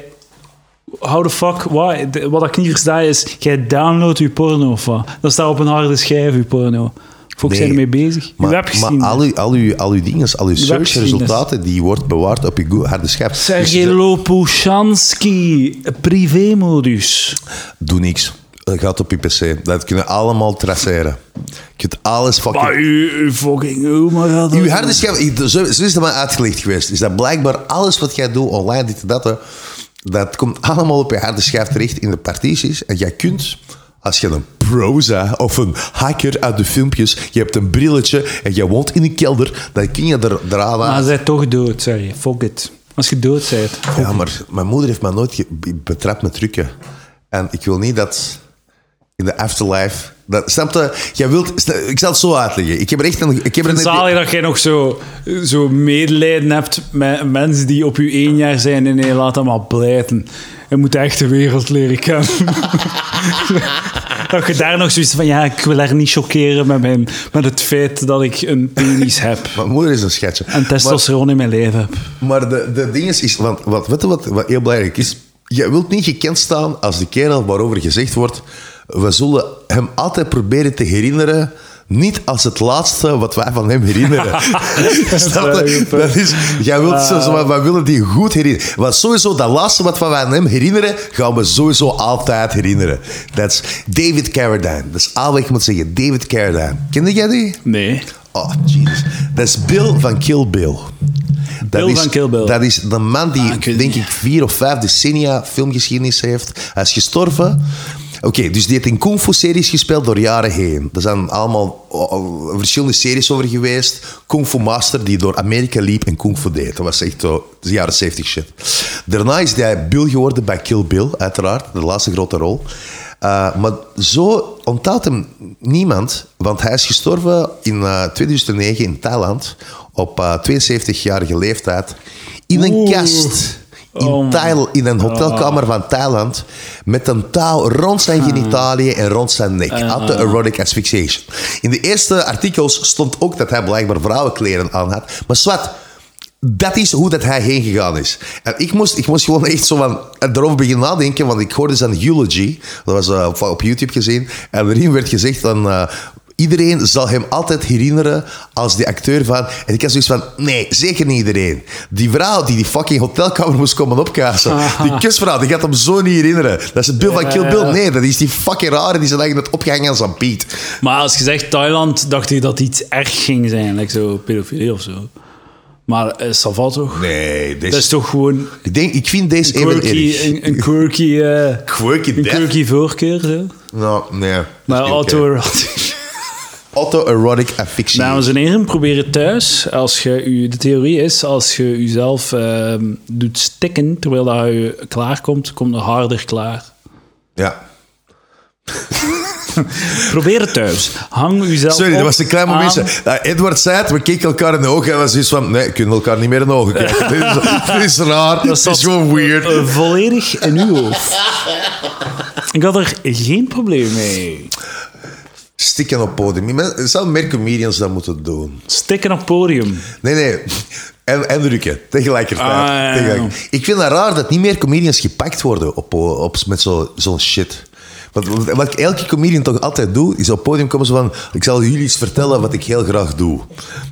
how the fuck, why? De- wat ik niet versta is, jij downloadt je porno of wat? Dat staat op een harde schijf, je porno. Volgens
Nee,
zijn ermee bezig.
Maar,
je hebt gezien.
maar al, uw, al, uw, al uw dingen, al uw searchresultaten, die wordt bewaard op je Google harde schijf.
Sergej
Dus
Lopushansky, privémodus.
doe niks. Dat gaat op je pc. Dat kunnen allemaal traceren. Je kunt alles
Maar
fucking...
u, u fucking humor had
Uw harde schijf, ik- zo, zo is het maar uitgelegd geweest. Is dat blijkbaar alles wat jij doet, online, dit en dat, hè, dat komt allemaal op je harde schijf terecht in de partities. En jij kunt, als je een proza of een hacker uit de filmpjes, je hebt een brilletje en jij woont in een kelder, dan kun je er, eraan aan.
Maar hij bent Ah, toch dood, zei je. Fuck it. Als je dood bent.
Ja, maar mijn moeder heeft mij nooit ge- be- betrapt met trucken. En ik wil niet dat in de afterlife... Dat, snap je? Jij wilt... stel- Ik zal het zo uitleggen. Ik heb er echt een... Ik heb er net-
Zalig dat jij nog zo, zo medelijden hebt met mensen die op je één jaar zijn. en nee, laat dat maar blijten. Je moet de echte wereld leren kennen. <laughs> dat je daar nog zoiets van, ja, ik wil haar niet choqueren met, mijn, met het feit dat ik een penis heb.
Mijn moeder is een schatje.
En testosteron in mijn leven heb.
Maar, maar de, de ding is... is want, wat, weet je wat, wat heel belangrijk is? Je wilt niet gekend staan als de kerel waarover gezegd wordt... We zullen hem altijd proberen te herinneren... Niet als het laatste wat wij van hem <laughs> herinneren. Snap
wel
je?
goed, hè?
Dat is, jij wilt zo, zo, maar we willen die goed herinneren. Want sowieso, dat laatste wat we aan hem herinneren, gaan we sowieso altijd herinneren. Dat is David Carradine. Dat is al wat je moet zeggen. David Carradine. Kende jij die?
Nee.
Oh, jezus. Dat is Bill van Kill Bill. Dat
Bill
is,
van Kill Bill. Ah,
Dat is de man die,
ik weet
denk
niet.
ik, vier of vijf decennia filmgeschiedenis heeft. Hij is gestorven. Oké, dus die heeft in kung fu series gespeeld door jaren heen. Er zijn allemaal oh, oh, verschillende series over geweest. Kung fu master die door Amerika liep en kung fu deed. Dat was echt zo de jaren 70 shit. Daarna is hij Bill geworden bij Kill Bill, uiteraard. De laatste grote rol. Uh, maar zo onthoudt hem niemand, want hij is gestorven in eh, 2009 in Thailand op eh, 72-jarige leeftijd in een
Oeh.
kast in,
Oh my- Oh.
Thail- in een hotelkamer van Thailand met een touw rond
Hmm.
zijn genitaliën en rond zijn nek.
Uh-huh.
At the erotic asphyxiation. In de eerste artikels stond ook dat hij blijkbaar vrouwenkleren aan had. Maar zwart, dat is hoe dat hij heen gegaan is. En ik moest, ik moest gewoon echt zo van erover beginnen nadenken, want ik hoorde zijn eulogy. Dat was eh, op, op YouTube gezien. En erin werd gezegd dan... eh, Iedereen zal hem altijd herinneren als die acteur van... En ik had zoiets van, nee, zeker niet iedereen. Die vrouw die die fucking hotelkamer moest
<laughs>
komen opkazen. Die kusvrouw, die gaat hem zo niet herinneren. Dat is Bill van Kill Bill. Nee, dat is die fucking rare die zijn eigen het opgehangen aan zijn Piet.
Maar als je zegt Thailand, dacht ik dat iets erg ging zijn. Like zo pedofilie of zo. Maar eh, ça va toch?
Nee,
Dat
deze...
is toch gewoon
Ik, denk, ik vind deze even
quirky,
erg.
een, een quirky... eh,
Quirky
Een
death?
quirky voorkeur, zo.
Nou, nee. dat is
Maar
niet oké.
auto
<laughs> Auto-erotic
<laughs>
affixie.
Dames en heren, probeer het thuis. Als je u, de theorie is, als je jezelf ehm, doet stikken terwijl dat je klaarkomt, komt er harder klaar.
Ja.
Probeer het thuis. Hang uzelf
Sorry, dat
op
was een klein
aan-
<laughs> momentje. Ja, Edward zei het, we keken elkaar in de ogen en was zoiets van... Nee, we kunnen elkaar niet meer in de ogen
<laughs>
kijken. dit, is, dit is raar, dit
zat-
is gewoon weird.
eh, volledig in uw
<laughs>
hoofd. Ik had er geen probleem mee.
Stikken op podium. Men- Zou meer comedians dat moeten doen?
Stikken op podium.
Nee, nee. En, en drukken, tegelijkertijd.
Ah, ja, ja.
Tegelijk- Ik vind het raar dat niet meer comedians gepakt worden op, op, met zo- zo'n shit. Wat, wat- wat ik elke comedian toch altijd doe, is op het podium komen ze van... Ik zal jullie iets vertellen wat ik heel graag doe.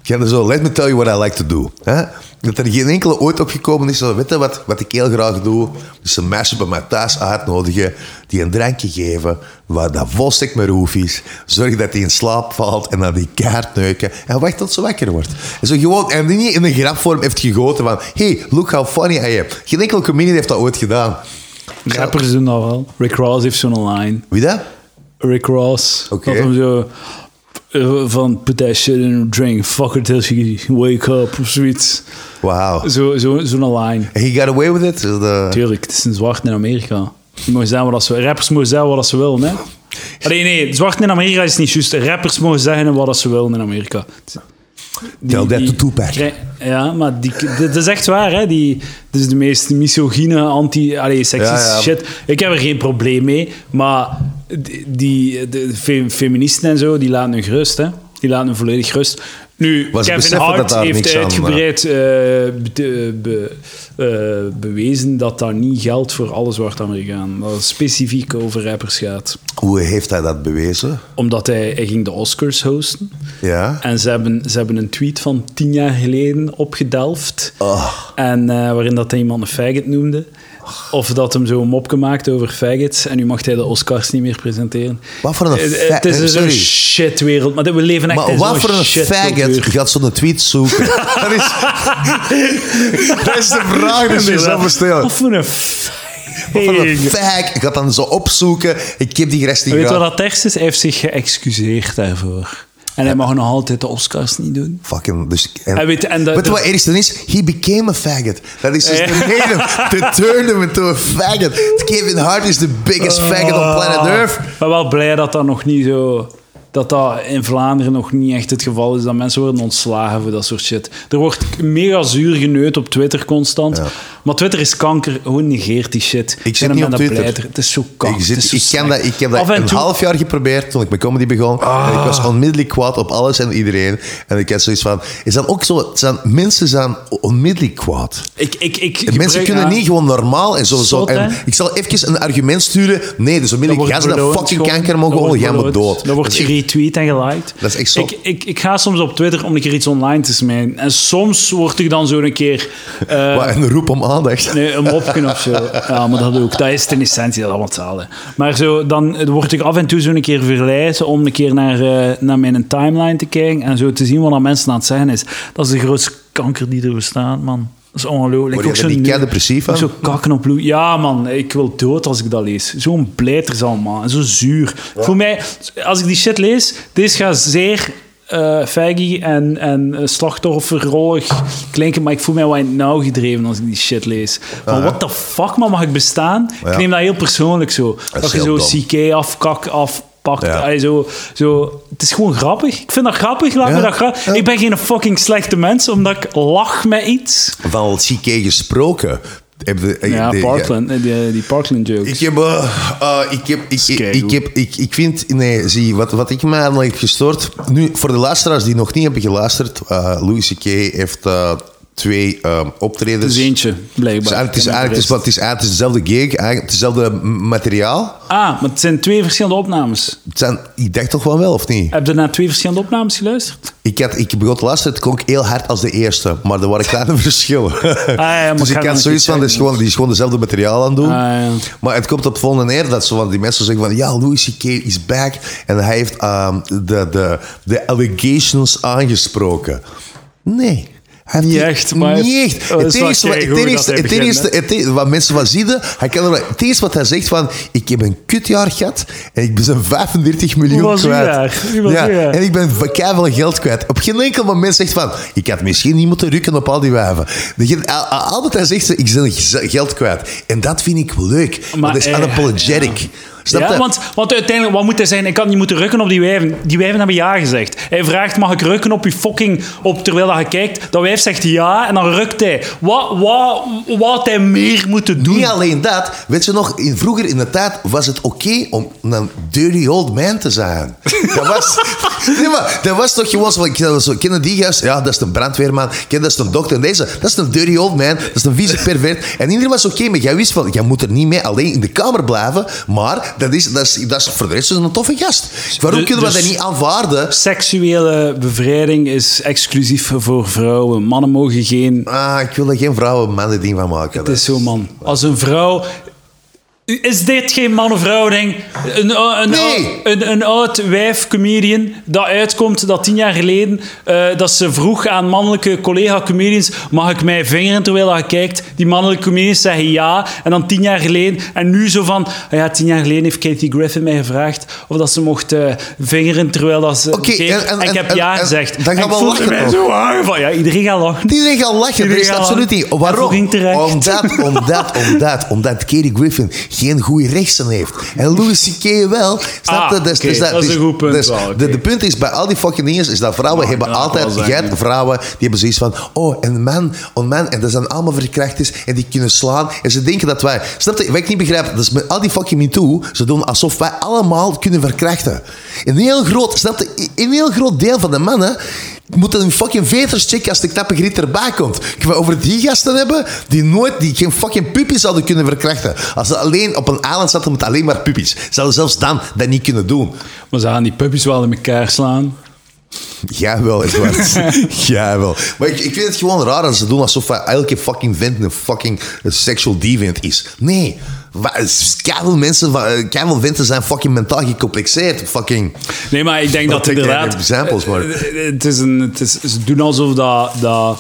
Ik ga er zo, let me tell you what I like to do. hè? Dat er geen enkele ooit opgekomen is van, weet je wat, wat ik heel graag doe? Dus een meisje bij mij thuis uitnodigen, die een drankje geven, waar dat volstek met roef is. Zorg dat hij in slaap valt en dan die kaart neuken. En wacht tot ze wakker wordt. En, zo gewoon, en die niet in een grapvorm heeft gegoten van, hey, look how funny I am. Geen enkele comedian heeft dat ooit gedaan.
Rappers doen dat wel. Rick Ross heeft zo'n line.
Wie dat?
Rick Ross.
Oké.
Dat hem zo eh, van put that shit in a drink, fuck it till she wake up of zoiets.
Wauw.
Zo, zo, zo'n line.
And He got away with it? Dus, eh, De-
Tuurlijk, het is een zwart in Amerika. Die mogen zeggen wat ze, rappers mogen zeggen wat ze willen, hè? Allee, nee, zwart in Amerika is niet juist. Rappers mogen zeggen wat ze willen in Amerika. Die-
Tell that
die-
to Tupac.
krij- Ja, maar die, dat is echt waar, hè? Die, dat is de meest misogyne, anti, allee, seksistische
Ja, ja.
shit. Ik heb er geen probleem mee, maar die, die de fe- feministen en zo, die laten hun gerust, hè? Die laten hun volledig rust. Nu,
Maar ze
Kevin
beseffen dat
Hart
daar niks
heeft
aan,
uitgebreid eh, be- be- eh, bewezen dat dat niet geldt voor alle zwarte Amerikanen. Dat het specifiek over rappers gaat.
Hoe heeft hij dat bewezen?
Omdat hij, hij ging de Oscars hosten.
Ja.
En ze hebben, ze hebben een tweet van tien jaar geleden opgedelft.
Oh.
En eh, waarin dat hij iemand een faggot noemde. Of dat hem zo een mopje maakte over faggots. En nu mag hij de Oscars niet meer presenteren.
Wat voor een
Eh,
fa-
Het is
eh,
een zo'n
sorry.
shitwereld. Maar we leven echt
Maar
in
wat
zo'n
voor een
shitcultuur.
faggot gaat zo'n tweet zoeken? <laughs> dat, is, dat is de vraag
<laughs>
die je zelf bestelt.
Wat
Wat
voor een faggot.
voor een fag gaat dan zo opzoeken. Ik heb die rest niet
Weet je
gehad.
wat dat ergste is? Hij heeft zich geëxcuseerd daarvoor. En hij mag nog altijd de Oscars niet doen.
Fucking, dus, en,
Hij weet- en dat-
je wat
dat-
het ergste is? He became a faggot. Dat is dus
Ja.
de reden.
<laughs>
They turned him into a faggot. Kevin Hart is the biggest faggot on planet Earth.
Ah. Ik ben wel blij dat dat nog niet zo... Dat dat in Vlaanderen nog niet echt het geval is. Dat mensen worden ontslagen voor dat soort shit. Er wordt mega zuur geneut op Twitter constant.
Ja.
Maar Twitter is kanker. Gewoon negeert die shit.
Ik zit
En dan
niet
ben
op
dat
Twitter.
blijter. Het is zo kanker.
Ik,
het is
zit,
zo
ik, ken
slecht.
dat, ik heb dat
Af en
een
toe- Ah.
half jaar geprobeerd toen ik met comedy begon. En ik was onmiddellijk kwaad op alles en iedereen. En ik had zoiets van... Is dat ook zo? Het Zijn, mensen zijn onmiddellijk kwaad.
Ik, ik, ik,
mensen
gebruik-
kunnen
ja.
niet gewoon normaal en zo. zo.
Zot,
En
hè?
ik zal even een argument sturen. Nee, dus
Dat
onmiddellijk
wordt
gaan ze dat
beloond,
fucking
gewoon.
kanker mogen
Dat
gewoon.
wordt
Jij maar
beloond.
dood.
Dat wordt
Dus ik-
geretweet en geliked.
Dat is echt zot.
Ik, ik, ik ga soms op Twitter om een keer iets online te smijten. En soms word ik dan zo een keer... eh,
<laughs> wat een roep om aandacht.
Nee, een mopje of zo. Ja, maar dat ook. Dat is ten essentie dat allemaal hetzelfde. Maar zo, dan word ik af en toe zo een keer verleid om een keer naar, eh, naar mijn timeline te kijken en zo te zien wat aan mensen aan het zeggen is. Dat is de grootste kanker die er bestaat, man. Dat is ongelooflijk.
Word je
Ook
er
zo
niet
nu-
kei-depressief van?
ook Zo kakken op bloed. Ja, man. Ik wil dood als ik dat lees. Zo'n blijters allemaal. En zo zuur. Voor mij, als ik die shit lees, deze gaat zeer eh faggy en, en eh, slachtofferrollig klinken, maar ik voel mij wel in het nauw gedreven als ik die shit lees. Maar what the fuck, man, mag ik bestaan?
Ja.
Ik neem dat heel persoonlijk zo.
is
Dat, je
heel
zo
dom.
CK afkak afpakt.
Ja.
Allee, zo, zo. Het is gewoon grappig. Ik vind dat grappig. Laat
Ja.
me dat gra-
Ja.
Ik ben geen fucking slechte mens, omdat ik lach met iets.
Van CK gesproken. Heb je-
Ja,
de-
Parkland, eh, die, die Parkland jokes.
Ik heb, eh, eh, ik heb, ik, ik,
keigoed.
ik, heb, ik, ik vind, nee, zie, wat, wat ik me aan heb gestoord. Nu, voor de luisteraars die nog niet hebben geluisterd, eh Louis C.K. heeft eh, twee eh,
Het
optredens.
is eentje, blijkbaar.
Het is
Ik ken
eigenlijk- het is
de
wat- het is eigenlijk dezelfde gig, eigenlijk hetzelfde m- materiaal.
rest. Ah, maar het zijn twee verschillende opnames.
Het zijn, ik dacht toch wel wel, of niet?
Heb je naar twee verschillende opnames geluisterd?
Ik, had, ik begon te luisteren, het klonk heel hard als de eerste, maar er waren kleine <laughs> verschillen.
Ah, maar ik
dus
ga
ik
dan
had
iets
zoiets van, die is,
zeggen.
gewoon, die is gewoon dezelfde materiaal aan het doen.
Ah, ja.
Maar het komt op het volgende neer dat zo van die mensen zeggen van, ja, Louis C.K. is back. En hij heeft ehm, de, de, de allegations aangesproken. Nee. Hij heeft
Niet
die-
echt, maar hij
Niet
heeft-
echt.
Oh, dat
Het
is wel
eerste wat- het
keigoed dat
eerste-
hij
het
begint,
eerste-
hè.
het eerste wat mensen wat zien, hij kan er, wel- het eerste wat hij zegt van, ik heb een kutjaar gehad en ik ben zo'n 35 miljoen
Hoe was uw
kwijt.
jaar? Hoe was
ja,
uw jaar?
en ik ben keiveel geld kwijt. Op geen enkel moment zegt van, ik had misschien niet moeten rukken op al die wijven. Degene- a- a- Altijd hij zegt, ze, ik ben gez- geld kwijt. En dat vind ik leuk.
Maar
dat is
hij-
unapologetic. Snap
ja,
je?
want, want uiteindelijk, wat moet hij zeggen? Ik had niet moeten rukken op die wijven. Die wijven hebben ja gezegd. Hij vraagt, mag ik rukken op je fucking... Op, terwijl dat je kijkt. Dat wijf zegt ja, en dan rukt hij. Wat, wat, wat had hij meer moeten doen?
Niet alleen dat, weet je nog, in, vroeger in de tijd was het oké om een dirty old man te
<laughs>
zijn. Dat was, nee, maar, dat was toch gewoon zo, van, ken- zo, kennen die gast? Ja, dat is een brandweerman, ken, dat is een dokter. En deze, dat is een dirty old man, dat is een
<laughs>
vieze pervert. En iedereen was oké, maar jij wist van, jij moet er niet mee alleen in de kamer blijven, maar dat is, dat is, dat is voor de rest is een toffe gast. Waarom
Dus-
kunnen we
dus-
dat niet aanvaarden?
Seksuele bevrijding is exclusief voor vrouwen. Mannen mogen geen...
Ah, ik wil er geen vrouwen mannen ding van maken.
Het is zo, man. Als een vrouw... Is dit geen man-vrouw ding? Een, ou- een,
Nee.
ou- een, een oud wijf-comedian dat uitkomt dat tien jaar geleden... eh, dat ze vroeg aan mannelijke collega-comedians... Mag ik mij vingeren terwijl je kijkt? Die mannelijke comedians zeggen ja. En dan tien jaar geleden... En nu zo van... "Ah Ja, tien jaar geleden heeft Katie Griffin mij gevraagd... Of dat ze mocht eh, vingeren terwijl dat ze...
Oké,
keek.
en- en-
ik
en-
heb
en-
ja
en-
gezegd.
dan gaan
En
we
ik voelde
lachen,
mij
toch?
zo aan van... Ja, iedereen gaat lachen.
Iedereen gaat lachen, dat
Iedereen
is
gaat
absoluut
lachen.
niet. Waarom?
Voeging terecht.
Omdat, omdat, omdat, omdat Kerry Griffin geen goede rechten heeft. En Louis C.K. wel. Snap je?
Ah, oké, dat is een goed punt
Dus,
wel, oké.
de, de punt is, bij al die fucking dingen, is dat vrouwen hebben
dat
altijd...
wel
Je
zeggen.
hebt vrouwen die hebben zoiets van... Oh, een man, een man. En dat zijn allemaal verkrachters. En die kunnen slaan. En ze denken dat wij... Snap je? Wat ik niet begrijp, dat is met al die fucking MeToo. Ze doen alsof wij allemaal kunnen verkrachten. Een heel groot... Snap je? Een heel groot deel van de mannen... Moeten hun fucking veters checken als de knappe griet erbij komt. Ik wil over die gasten hebben die nooit, die geen fucking puppies zouden kunnen verkrachten. Als ze alleen op een eiland zaten met alleen maar puppies. Zouden zelfs dan dat niet kunnen doen.
Maar ze gaan die puppies wel in elkaar slaan.
Ja, wel, Edward.
<laughs>
ja, wel. Maar ik, ik vind het gewoon raar dat ze doen alsof elke fucking vent een fucking sexual deviant is. Nee. Keiveel mensen, keiveel venten zijn fucking mentaal gecomplexeerd. Fucking.
Nee, maar ik denk dat
take
inderdaad...
any examples, maar-
Eh, Het is een, het is, ze doen alsof dat, dat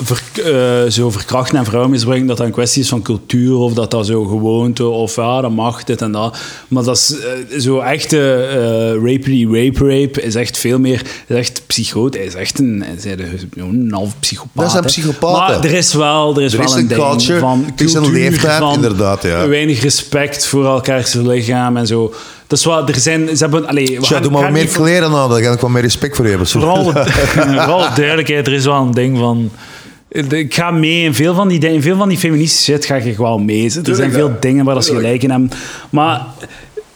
verk- eh, zo verkrachten en vrouwenmisbruik, dat dat een kwestie is van cultuur of dat dat zo gewoonte of ja, dat mag, dit en dat. Maar dat is eh, zo echte eh rapery rape rape is echt veel meer, is echt psychoot. Hij is echt een, hij is een- een half psychopaat.
Dat is een
hè.
psychopaat,
Maar
hè.
er is wel, er is
Er
wel
is
een
een
ding
culture,
van
er is een
cultuur,
leeftijd,
van
inderdaad, ja.
weinig respect voor elkaars lichaam en zo. Dat is wel, er zijn, ze hebben, allee, we
Tja,
gaan-
doe maar
gaan
meer
niet-
kleren aan, dan kan ik wel meer respect voor je hebben.
Vooral, <laughs> vooral duidelijkheid, er is wel een ding van. Ik ga mee in veel van die, in veel van die feministische shit ga ik wel mee. Er zijn
Tuurlijk,
veel
ja.
dingen waar dat ze
Tuurlijk.
gelijk in hebben. Maar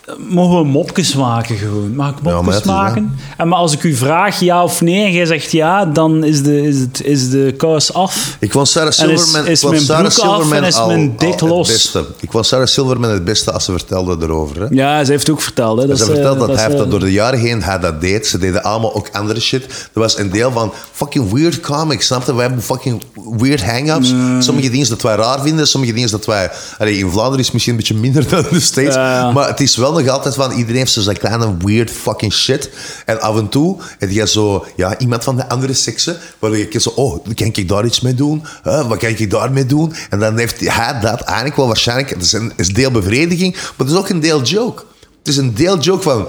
eh, mogen we mopjes maken gewoon? Mag ik
maar
mopjes
dat is waar.
maken? En maar als ik u vraag ja of nee en jij zegt ja, dan is de, is het, is de kous af.
<laughs> Ik was Sarah
En is-
Silverman,
is
ik vond
mijn
Sarah
broek af en
Silverman
is
al-
mijn
al
dik
het
los.
beste. Ik was Sarah Silverman het beste als ze vertelde erover. Hè?
Ja, ze heeft ook verteld. Hè, dat eh,
Ze
ze-
vertelt dat, hij
ze-
dat door de jaren heen hij dat deed. Ze deden allemaal ook andere shit. Er was een deel van fucking weird comics, snap je? We hebben fucking weird hang-ups.
Mm.
Sommige dingen dat wij raar vinden, sommige dingen dat wij... Allee, in Vlaanderen is het misschien een beetje minder <laughs> dan in de States.
Ja.
Maar het is wel nog altijd van, iedereen heeft zo zijn kleine weird fucking shit. En af en toe heb je zo, ja, iemand van de andere sekse, waar je zo, oh, kan ik daar iets mee doen? Huh, wat kan ik daarmee doen? En dan heeft hij dat eigenlijk wel waarschijnlijk, het is een is deel bevrediging, maar het is ook een deel joke. Het is een deel joke van,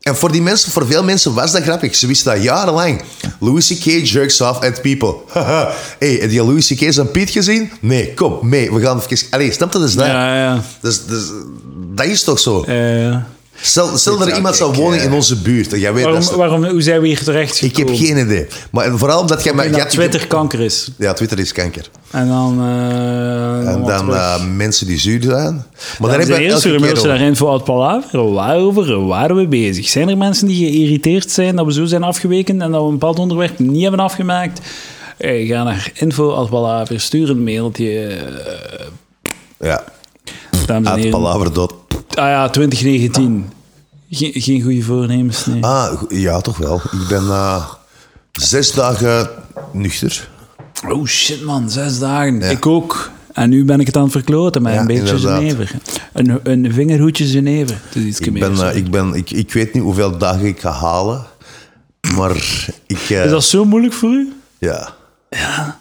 en voor die mensen, voor veel mensen was dat grappig. Ze wisten dat jarenlang. Louis C.K. jerks off at people. <laughs> Haha. hey, heb je Louis C.K. zijn Piet gezien? Nee, kom, mee. We gaan even... Allee, snap je? Dat is dat.
Ja, ja.
Dus, dus, dat is toch zo?
Eh,
Stel, stel dat er
zou
iemand zou
ik,
wonen
eh,
in onze buurt. En jij weet
waarom,
dat is-
waarom, hoe zijn we hier terecht
Ik heb
gekomen?
geen idee. Maar vooral omdat jij... mij-
Dat
jij-
Twitter kanker is.
Ja, Twitter is kanker.
En dan... eh,
En
wat
dan
terug.
eh, mensen die zuur zijn. Maar daar
Dan
hebben
zijn
we
heel
elke
veel
keer
mensen
over.
daarin voor het palaver. Waarover waren we bezig? Zijn er mensen die geïrriteerd zijn dat we zo zijn afgeweken en dat we een bepaald onderwerp niet hebben afgemaakt? Eh, ga naar info at palaver, stuur een mailtje. eh,
Ja,
Dames en
uit
heren. Ah
palaver dood.
ja, 2019. Geen, geen goede voornemens, nee.
Ah, go- ja, toch wel. Ik ben eh, zes dagen nuchter.
Oh shit man, zes dagen. Ik ook. En nu ben ik het aan het verkloten met
Ja,
een beetje
inderdaad.
Genever. Een, een vingerhoedje Genever. Het is iets
Ik,
meer.
ben, eh, ik, ben, ik, ik weet niet hoeveel dagen ik ga halen. Maar ik... eh,
Is dat zo moeilijk voor u?
Ja. Ja.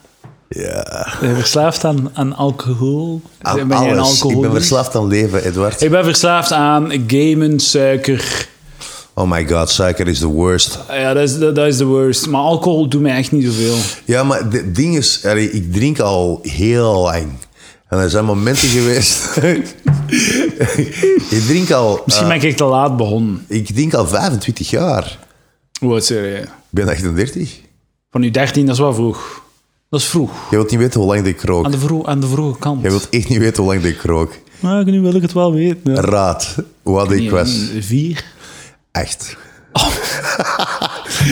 Ja.
Ben je verslaafd aan, aan alcohol?
Aan
jij een
alles. Ik ben
alcoholist?
verslaafd aan leven, Edward.
Ik ben verslaafd aan gamen, suiker. Ah,
Oh my god, suiker is the worst.
Ja, dat is, dat, dat is de worst. Maar alcohol doet mij echt niet zoveel.
Ja, maar het ding is, allee, ik drink al heel lang. En er zijn momenten geweest. <laughs> ik drink al.
Misschien ben ik te laat begonnen.
eh, ik drink al 25 jaar. Oh,
Hoe oud zeg jij?
Ik ben 38.
Van uw 13, dat is wel vroeg. Dat is vroeg.
Je wilt niet weten hoe lang ik rook.
Aan de, vroeg, aan de vroege kant.
Je wilt echt niet weten hoe lang ik rook.
Maar nu wil ik het wel weten. Ja.
Raad wat ik was.
Vier.
Echt.
Oh,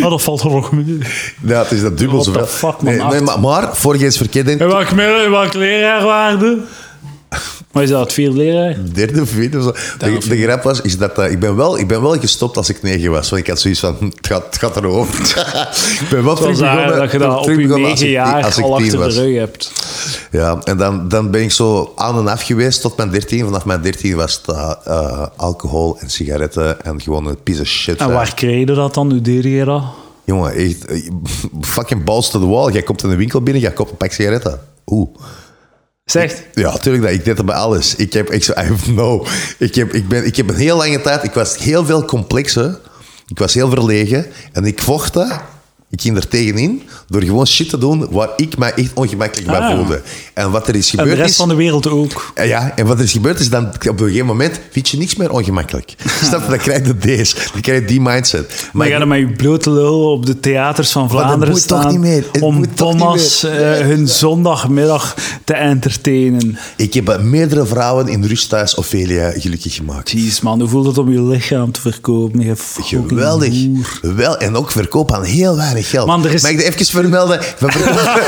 dat valt er nog mee.
Ja, het is dat dubbel
What
zoveel.
the fuck, man,
nee, nee,
acht.
maar, maar voor je eens verkennen,
En welk, me- en welk leraar waarde? Wat is dat, het vierde leraar?
derde of vierde of zo. De, de grap was, is dat eh, ik, ben wel, ik ben wel gestopt als ik negen was. Want ik had zoiets van, hm, het gaat, het gaat erover. <laughs> ik ben wel terug
Dat is
begonnen-
eigenlijk dat je dat op
terug
je
begonnen als
negen
ik-
jaar
als ik
al
tien
achter
was.
de rug hebt.
Ja, en dan, dan ben ik zo aan en af geweest tot mijn dertien. Vanaf mijn dertien was het eh, eh, alcohol en sigaretten en gewoon een piece of shit.
En
eh.
waar kreeg je dat dan? Hoe deed je dat?
Jongen, echt, eh, fucking balls to the wall. Jij komt in de winkel binnen, jij koopt een pak sigaretten. Oeh.
Zegt.
Ja, tuurlijk. Dat, ik deed dat bij alles. Ik heb, ik, zo- I have no. Ik heb, ik, ben, ik heb een heel lange tijd... Ik was heel veel complexen. Ik was heel verlegen. En ik vocht dat. Ik ging er tegenin door gewoon shit te doen waar ik mij echt ongemakkelijk bij
Ah.
voelde. En wat er is
En
gebeurd
de rest
is...
van de wereld ook.
Ja, Ja, en wat er is gebeurd is dan op een gegeven moment vind je niks meer
<laughs>
ongemakkelijk. Snap je? Dan krijg je deze. Dan krijg je die mindset.
Maar
ik-
ga dan met je blote lul op de theaters van Vlaanderen
moet toch
staan
niet meer. Het
om
moet toch
Thomas
niet
eh, hun zondagmiddag te entertainen.
Ik heb eh, meerdere vrouwen in rust thuis Ophelia gelukkig gemaakt.
Jeez man, hoe voelt het om je lichaam te verkopen? Je fucking
Geweldig.
hoer.
Wel, en ook verkoop aan heel weinig geld.
Man, er is-
Mag ik dat even vermelden? We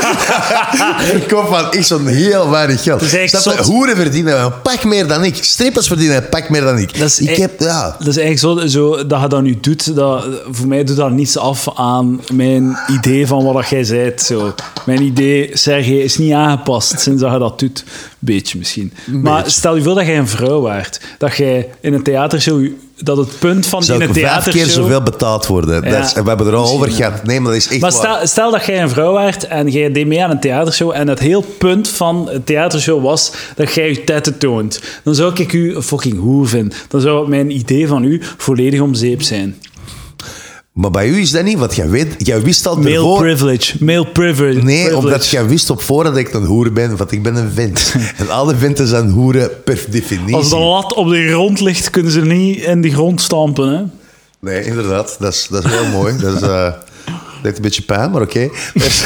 <laughs>
verkopen- verkoop aan echt zo'n heel weinig geld.
is echt
Snap je?
zot.
Hoeren verdienen een pak meer dan ik. Strippers verdienen een pak meer dan ik.
Dat is e-
ik
echt-
heb, ja.
Dat is eigenlijk zo, zo dat je dat nu doet. Dat, voor mij doet dat niets af aan mijn idee van wat dat jij zei. Zo. Mijn idee, Sergej, is niet aangepast sinds dat je dat doet. Beetje misschien. Maar stel je voor dat jij een vrouw waart. Dat jij in een theatershow... Dat het punt van
Zou
in een
ik vijf
theatershow...
keer zoveel betaald worden?
Ja.
Dat is- we hebben er al over
Misschien,
gehad. Nee, maar dat is echt
Maar
waar.
stel, stel dat jij een vrouw werd en jij deed mee aan een theatershow en het heel punt van het theatershow was dat jij je tetten toont. Dan zou ik u een fucking hoer vinden. Dan zou mijn idee van u volledig om zeep zijn.
Maar bij u is dat niet, want jij, weet, jij wist al
Male
ervoor...
privilege. Male privilege.
Nee,
privilege.
omdat jij wist op voorhand dat ik een hoer ben, want ik ben een
<laughs>
vent. en alle venten zijn hoeren per definitie.
Als de lat op de grond ligt, kunnen ze niet in de grond stampen. Hè?
Nee, inderdaad. Dat is, dat is heel mooi. Dat is, eh, deed een beetje pijn, maar oké. <laughs> Dus-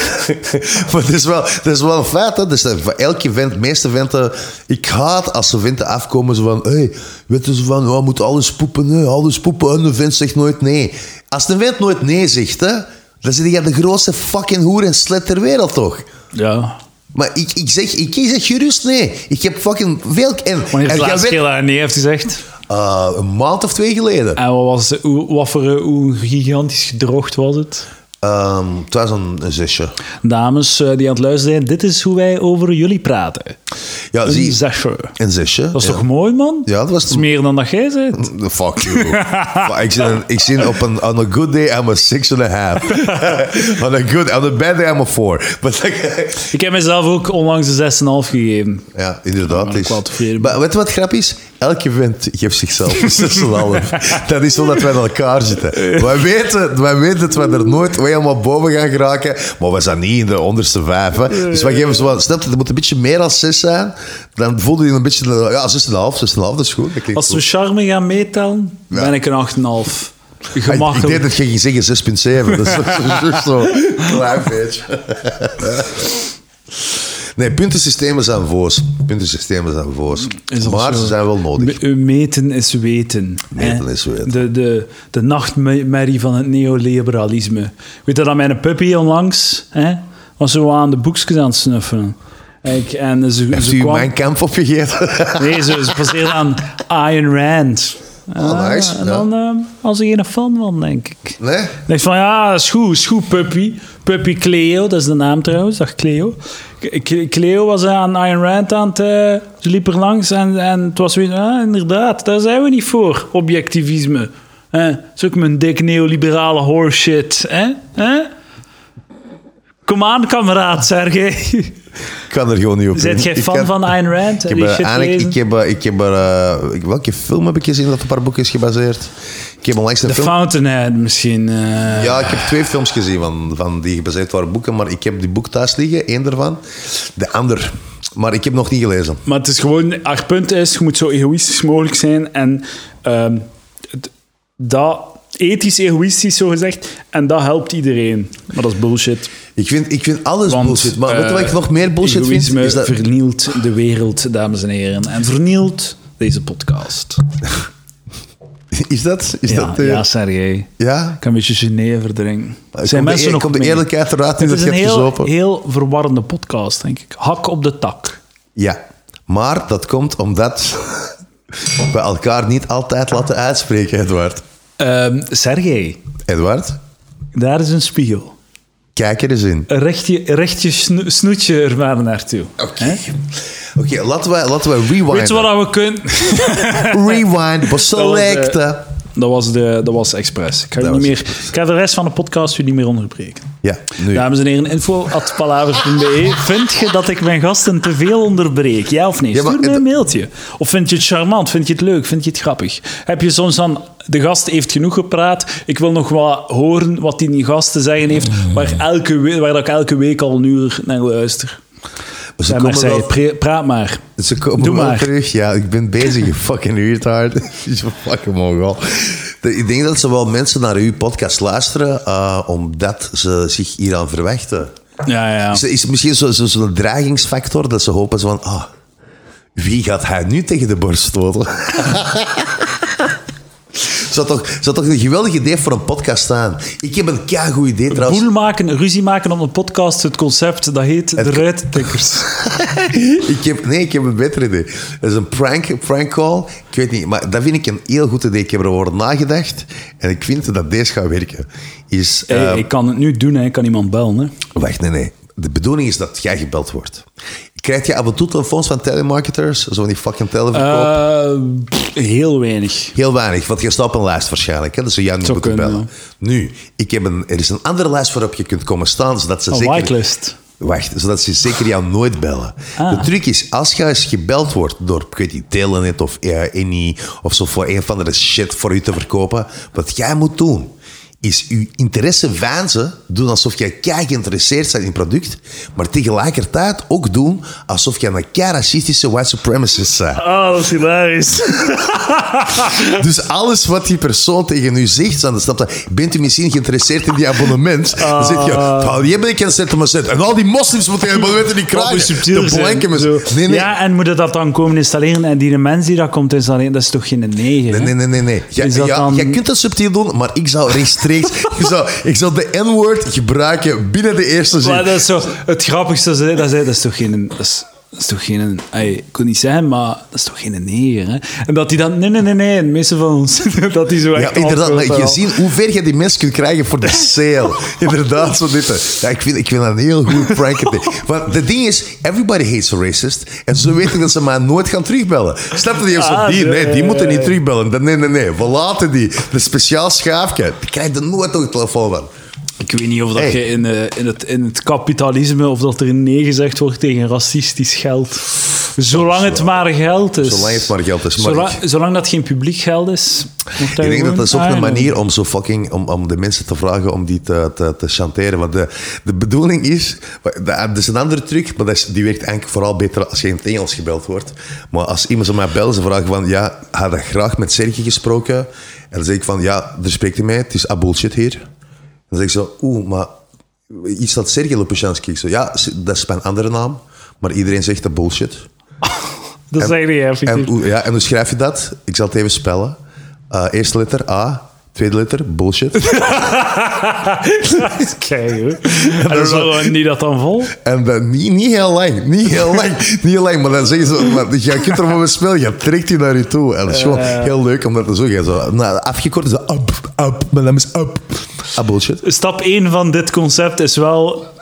maar het is, wel, het is wel een feit. Hè? Dus dat voor elke vent, de meeste venten... Ik haat als ze venten afkomen zo van... Hey, weet je, zo van, oh, moet alles poepen, hè, alles poepen. En de vent zegt nooit nee. Als de vent nooit nee zegt, hè, dan zit jij de grootste fucking hoer en slet ter wereld, toch?
Ja.
Maar ik, ik, zeg, ik zeg gerust nee. Ik heb fucking veel... En,
Wanneer
en
het
jij
laatste
weet-
keer dat hij nee heeft gezegd.
Eh, een maand of twee geleden.
En wat, was, de- hoe, wat voor eh, hoe gigantisch gedroogd was het?
Ehm, het was een, een zesje.
Dames eh, die aan het luisteren zijn, dit is hoe wij over jullie praten.
Ja,
Een
Ah, zie,
zesje.
een zesje.
Dat is
ja.
toch mooi, man?
Ja, dat was-
is meer dan dat jij zei.
<laughs> Fuck you. Maar ik zit, ik zit op een on a good day I'm a six and a half. <laughs> on a good, on a bad day I'm a four. <laughs> But like,
Ik heb mezelf ook onlangs de 6,5 gegeven.
ja, inderdaad.
ben
is-
ik wel tevreden.
maar weet je wat grap is? Elke vent geeft zichzelf een zes en een
<laughs>
half. Dat is omdat wij aan elkaar zitten. Wij weten, wij weten dat wij er nooit wij helemaal boven gaan geraken, maar we zijn niet in de onderste vijf. Hè. Dus wij geven ze wel, snap je, het moet een beetje meer dan zes zijn. Dan voelde je een beetje, ja, zes en een half, zes en een half, dat is goed. Dat klinkt
Als we
goed.
charme gaan meetellen, ben ik een 8,5.
Ik
Gemakkelijk.
deed dat je ging zeggen 6,7.
<laughs>
Dat is juist zo. Klein beetje. Nee, puntensystemen zijn voos. Puntensystemen zijn voos.
Is dat
Maar
zo?
ze zijn wel nodig.
Me- meten is weten.
Meten
hè.
is weten.
De, de, de nachtmerrie van het neoliberalisme. Weet je dat mijn puppy onlangs hè, was zo aan de boekjes aan het snuffelen. Ik, en ze,
Heeft
ze
u
kwam... <laughs>
mijn kamp opgegeten?
Nee, ze, ze passeerde aan Ayn Rand.
Oh, nice,
Ah, en
ja.
dan eh, was er geen fan van, denk ik.
<laughs> Nee?
Ik dacht van, ja, dat is goed, is goed, Puppy. Puppy Cleo, dat is de naam trouwens, dag Cleo. K- K- Cleo was aan Iron Rand aan het... eh, ze liep er langs en, en het was weer... Ah, inderdaad, daar zijn we niet voor, objectivisme. Eh, dat is ook mijn dik neoliberale horseshit. hè? hè? Kom aan, kameraad,
<laughs>
Sergej.
Ik kan er gewoon niet op
Zijt
in.
jij
Ik
fan
kan-
van Ayn Rand?
Ik heb,
Die
eh,
shit
eigenlijk,
lezen?
ik heb, eh, ik heb er, eh, ik- welke film heb ik gezien dat op haar boek is gebaseerd? Ik heb onlangs een
The
film...
Fountainhead misschien. eh.
Ja, ik heb twee films gezien van, van die gebaseerd waren op boeken, maar ik heb die boek thuis liggen, één daarvan. De ander, Maar ik heb nog niet gelezen.
Maar het is gewoon, haar punt is, je moet zo egoïstisch mogelijk zijn en ehm, het- dat ethisch egoïstisch zo gezegd en dat helpt iedereen. Maar dat is bullshit.
Ik vind, ik vind alles
Want,
bullshit. Maar weet je wat
eh,
ik nog meer bullshit vind?
egoïsme
Is dat...
vernielt de wereld, dames en heren, en vernielt deze podcast.
Is dat? Is
Ja,
dat eh,
ja Sergej.
ja?
Ik kan een beetje Genever verdrinken.
Komt de eer- komt de eerlijkheid eruit nu
Het
dat
is
je
een heel,
hebt gezopen?
heel verwarrende podcast, denk ik. Hak op de tak.
Ja. Maar dat komt omdat we elkaar niet altijd laten uitspreken, Edward.
Ehm Sergej,
Edward,
daar is een spiegel.
kijk er eens in.
Recht je, recht je sno- snoetje er maar naartoe.
Oké. Oké, laten we, laten we rewinden.
Weet je wat we kunnen? <laughs>
Rewind,
Dat
but
was, eh,
selecten.
Dat was, de, dat was expres. Ik ga,
Dat
niet
was
meer, ik ga de rest van de podcast u niet meer onderbreken.
Ja, nu.
Dames en heren, info at palavers.be. Vind je dat ik mijn gasten te veel onderbreek? Ja of nee?
Ja, maar
Stuur me
het-
een mailtje. Of vind je het charmant? Vind je het leuk? Vind je het grappig? Heb je soms dan... De gast heeft genoeg gepraat. Ik wil nog wat horen wat die gast te zeggen heeft, waar, elke we- waar dat ik elke week al een uur naar luister.
ze,
Ja, maar
komen
zei,
wel,
"Pre- praat maar.
ze komen
Doe
Dus wel
maar.
terug. Ja, ik ben bezig, je fucking retard. <laughs> Je fucking mongool. De- Ik denk dat ze wel mensen naar uw podcast luisteren, eh, omdat ze zich hieraan verwachten.
Ja, ja.
Is, is misschien zo'n zo, zo'n dragingsfactor, dat ze hopen zo van... ah, wie gaat hij nu tegen de borst stoten? <laughs> zou, toch, zou toch een geweldig idee voor een podcast staan? Ik heb een keigoed idee trouwens.
Boel maken, ruzie maken op een podcast. Het concept, dat heet de
<laughs>
ruittikkers.
ik heb, nee, ik heb een beter idee. Dat is een prank, prank call. Ik weet niet, maar dat vind ik een heel goed idee. Ik heb erover nagedacht en ik vind dat deze gaat werken. Is,
Hey,
eh,
ik kan het nu doen, hè. ik kan iemand bellen. Hè.
Wacht, nee, nee. De bedoeling is dat jij gebeld wordt. Krijg je af en toe telefoons van telemarketers? Zo van die fucking televerkoop?
Eh, pff, heel weinig.
Heel weinig, want je staat op een lijst waarschijnlijk. Hè? Dus ze jou niet
Zou
moeten
kunnen,
bellen. Nu, ik heb een, er is een andere lijst waarop je kunt komen staan, zodat ze
Een
zeker...
whitelist.
Wacht, zodat ze zeker jou nooit bellen. De truc is, als jij eens gebeld wordt door, ik weet niet, Telenet of eh, Eni of zo voor een van de shit voor u te verkopen, wat jij moet doen, is je interesse vanzen, doen alsof jij kei geïnteresseerd bent in het product, maar tegelijkertijd ook doen alsof jij een kei racistische white supremacist bent.
Ah, dat is
<laughs>
hilarisch.
Dus alles wat die persoon tegen u zegt, dan snapt dat, bent u misschien geïnteresseerd in die abonnement? Dan
Ah.
zeg je, "Paul, jij bent een cent En al die moslims moeten die abonnementen niet krijgen. de blanken
zo.
mensen. Nee, nee.
Ja, en moeten dat dan komen installeren? En die mens die dat komt installeren, dat is toch geen negen? hè?
Nee, nee, nee, nee. Ja,
Is dat
ja,
dan-
Jij kunt dat subtiel doen, maar ik
<laughs>
zou rechtstreeks... ik, zou, ik zou de N-word gebruiken binnen de eerste zin.
Maar dat is zo, het grappigste is, hè, dat is, dat is toch geen... Dat is, dat is toch geen... ey, ik kon niet zeggen, maar dat is toch geen neger, hè? En dat die dan... Nee, nee, nee, nee, de meeste van ons... <laughs> dat die zo
Ja,
echt
inderdaad.
antwoord
Maar je
al.
ziet hoe ver je die mensen kunt krijgen voor
<laughs>
de sale. inderdaad, zo dit. hè. Ja, ik vind, ik vind dat een heel goed
<laughs>
prank. Want de ding is, everybody hates a racist. En ze weten dat ze mij nooit gaan terugbellen. Snap je? Die, heeft zo,
Ah,
die,
zo,
nee,
ja,
die
ja,
moeten
ja.
niet terugbellen. Dan- Nee, nee, nee. We laten die. De speciaal schaafje. Die krijgt er nooit op de telefoon van.
Ik weet niet of dat
Hey.
je in, eh, in, het, in het kapitalisme of dat er nee gezegd wordt tegen racistisch geld. Zolang het maar geld is.
Zolang het maar geld is, maar
Zolang,
ik-
zolang dat geen publiek geld is. moet
Ik denk dat
gewoon-
dat is ook
Ah,
een
ja.
manier om zo fucking om, om de mensen te vragen om die te, te, te chanteren. Want de, de bedoeling is, dat is een andere truc, maar dat is, die werkt eigenlijk vooral beter als je in het Engels gebeld wordt. Maar als iemand zo mij belt, ze vragen van ja, had ik graag met Sergej gesproken? En dan zeg ik van ja, daar spreekt hij mee, het is ah, bullshit hier. Dan zeg ik zo, oeh, maar iets dat Sergej Lopushansky. Ik zo, ja, dat is mijn andere naam, maar iedereen zegt dat bullshit.
Dat is eigenlijk effectief. <laughs>
En, <laughs> hoe- ja, en hoe schrijf je dat? Ik zal het even spellen. Eh, eerste letter A, tweede letter bullshit. <laughs>
Kijk, hoor. En dan zullen die dat dan vol.
en dan niet, niet heel lang, niet heel lang, niet heel lang. Maar dan zeggen ze, maar, je kunt er van spelen, je trekt die naar je toe. En dat is gewoon
Eh.
heel leuk om dat te zeggen. Zo, nou, afgekort is dat up, up, mijn naam is up. Ah, bullshit.
Stap 1 van dit concept is wel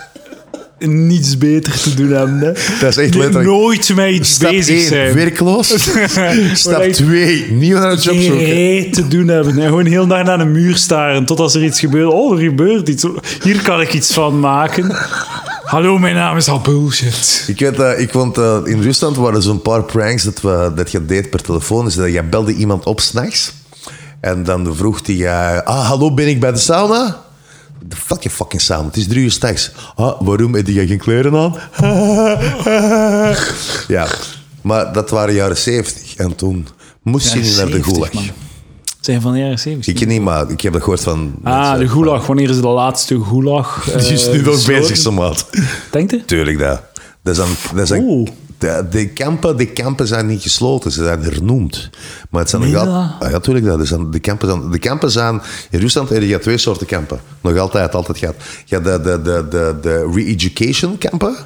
niets beter te doen hebben. Hè.
Dat is echt letterlijk-
Nooit mee iets
Stap
bezig
1,
zijn. <laughs>
werkloos. Stap
Waar ik-
2, nieuw naar een job
geen
zoeken.
reet te doen hebben. En gewoon heel dag naar de muur staren. Tot als er iets gebeurt. Oh, er gebeurt iets. Hier kan ik iets van maken. Hallo, mijn naam is al
<laughs>
bullshit.
Ik weet, eh, ik woont eh, in Rusland, waren zo'n paar pranks dat, we, dat je deed per telefoon. Dus dat je belde eh, iemand op s'nachts. En dan vroeg hij, ah, hallo, ben ik bij de sauna? de fuck je fucking samen. Het is drie uur s'nachts. Ah, waarom heb je geen kleren aan? <laughs> ja, maar dat waren jaren zeventig. En toen moest je niet naar de gulag.
Zijn van de jaren 70.
Ik ken niet, maar ik heb dat gehoord van...
Ah,
mensen.
de gulag. Wanneer is de laatste gulag? eh,
<laughs> Die is nu nog
gesloten?
bezig, zo maat.
Denkt je?
Tuurlijk, dat. dat zijn, dat zijn,
Oeh.
de, de kampen, de kampen zijn niet gesloten, ze zijn hernoemd. Maar het zijn
Meen
nog
je
al- Ah, Ja, tuurlijk. Dat. Er zijn- de, kampen zijn, de kampen zijn... In Rusland heb je twee soorten kampen. Nog altijd, altijd gehad. Je hebt de, de, de, de, de re-education kampen.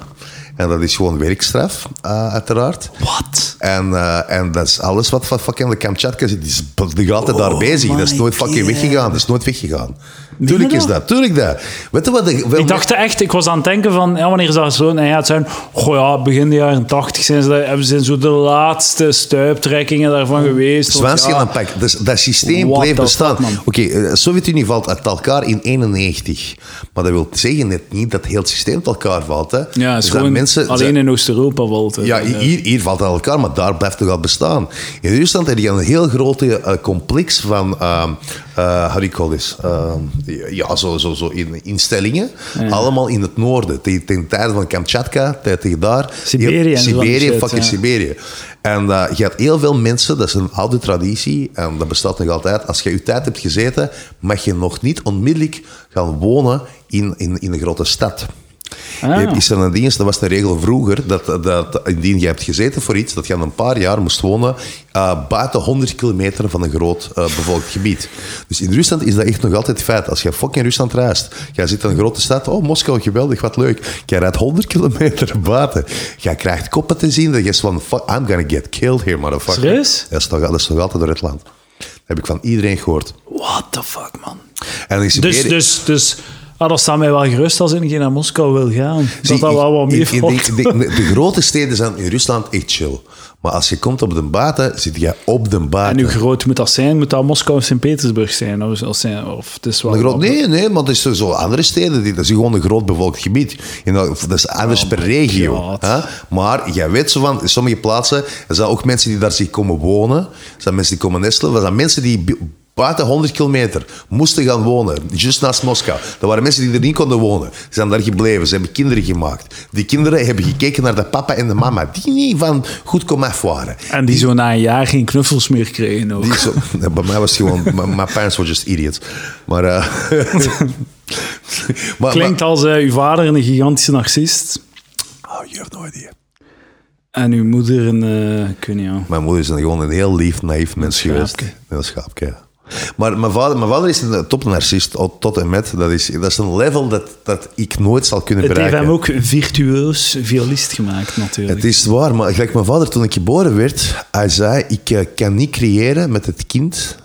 En dat is gewoon werkstraf, eh, uiteraard.
Wat?
En, eh, en dat is alles wat van fucking de Kamchatka zit. Die, is, die gaat altijd daar
Oh
bezig. Dat is
my
nooit fucking
God.
weggegaan. Dat is nooit weggegaan.
je
Tuurlijk is
dat?
dat. Tuurlijk dat. Weet je wat... de- wel-
Ik dacht echt, ik was aan het denken van, ja, wanneer is dat zo? En ja, het zijn, goh ja, begin de jaren 80 zijn ze, hebben ze zo de laatste stuiptrekkingen daarvan geweest. want
Zwaanschil
ja,
en pak. Dus dat systeem
What
bleef
the
bestaan.
fuck, man.
Oké, de Sovjet-Unie valt uit elkaar in 91. Maar dat wil zeggen net niet dat heel het systeem uit elkaar valt. Hè.
Ja, het
Dus
is
dat
gewoon alleen
zijn-
in Oost-Europa valt het.
ja, hier, hier valt het uit elkaar, maar daar blijft het al bestaan. In Rusland heb je een heel grote eh, complex van, ehm eh how do you call this? Ehm, ja, zo, zo, zo in, instellingen. Allemaal in het noorden. Ten, ten tijde van Kamchatka, tijd tegen daar.
Siberië en zo van die
Siberië,
shit,
fucking
ja.
Siberië. En eh, je hebt heel veel mensen, dat is een oude traditie en dat bestaat nog altijd. Als je je tijd hebt gezeten, mag je nog niet onmiddellijk gaan wonen in, in, in een grote stad.
Ah.
Je hebt- Is er een dienst, dat was de regel vroeger, dat, dat indien je hebt gezeten voor iets, dat je aan een paar jaar moest wonen eh, buiten 100 kilometer van een groot eh, bevolkt gebied. Dus in Rusland is dat echt nog altijd feit. Als je fucking Rusland reist, jij zit in een grote stad, oh Moskou, geweldig, wat leuk. Jij rijdt 100 kilometer buiten. Jij krijgt koppen te zien, dat je is van, fuck, I'm gonna get killed here, motherfucker.
Serieus?
Dat is toch, dat is toch altijd door het land. Dat heb ik van iedereen gehoord.
What the fuck, man.
En in
Dus,
Siberië-
dus, dus ah, dat staat mij wel gerust als ik naar Moskou wil gaan.
Zie,
dat dat
ik-
wel wat
ik-
meer
ik denk-
valt.
de, de grote steden zijn in Rusland echt chill. Maar als je komt op de baten, zit je op de
En hoe
baten.
groot moet dat zijn? Moet dat Moskou of Sint-Petersburg zijn? Of, of, zijn- of het is wel...
Groot, nee, nee, maar dat is zo andere steden. die- Dat is gewoon een groot bevolkt gebied. En dat, dat is anders per regio.
God.
hè. Maar jij weet zo van, in sommige plaatsen er zijn ook mensen die daar zich komen wonen. Er zijn mensen die komen nestelen. Er zijn mensen die bu- buiten 100 kilometer moesten gaan wonen. Just naast Moskou. Dat waren mensen die er niet konden wonen. Ze zijn daar gebleven. Ze hebben kinderen gemaakt. Die kinderen hebben gekeken naar de papa en de mama. Die niet van goed kom af waren.
En die zo na een jaar geen knuffels meer kregen ook.
Die is zo- <laughs> Nee, bij mij was het gewoon... My, my parents were just idiots. Maar... eh, <laughs> maar-
Klinkt als eh, uw vader een gigantische narcist
maar- oh, you have no idea.
en uw moeder een... eh ik weet niet, ja.
Mijn moeder is een- gewoon een heel lief, naïef mens geweest.
schaapje.
Een schaapje, ja. Maar mijn vader, mijn vader is een topnarcist, al tot en met. Dat is, dat is een level dat, dat ik nooit zal kunnen
Het heeft
bereiken.
hem ook virtueus violist gemaakt, natuurlijk.
Het is waar, maar gelijk mijn vader toen ik geboren werd, hij zei, ik eh, kan niet creëren met het kind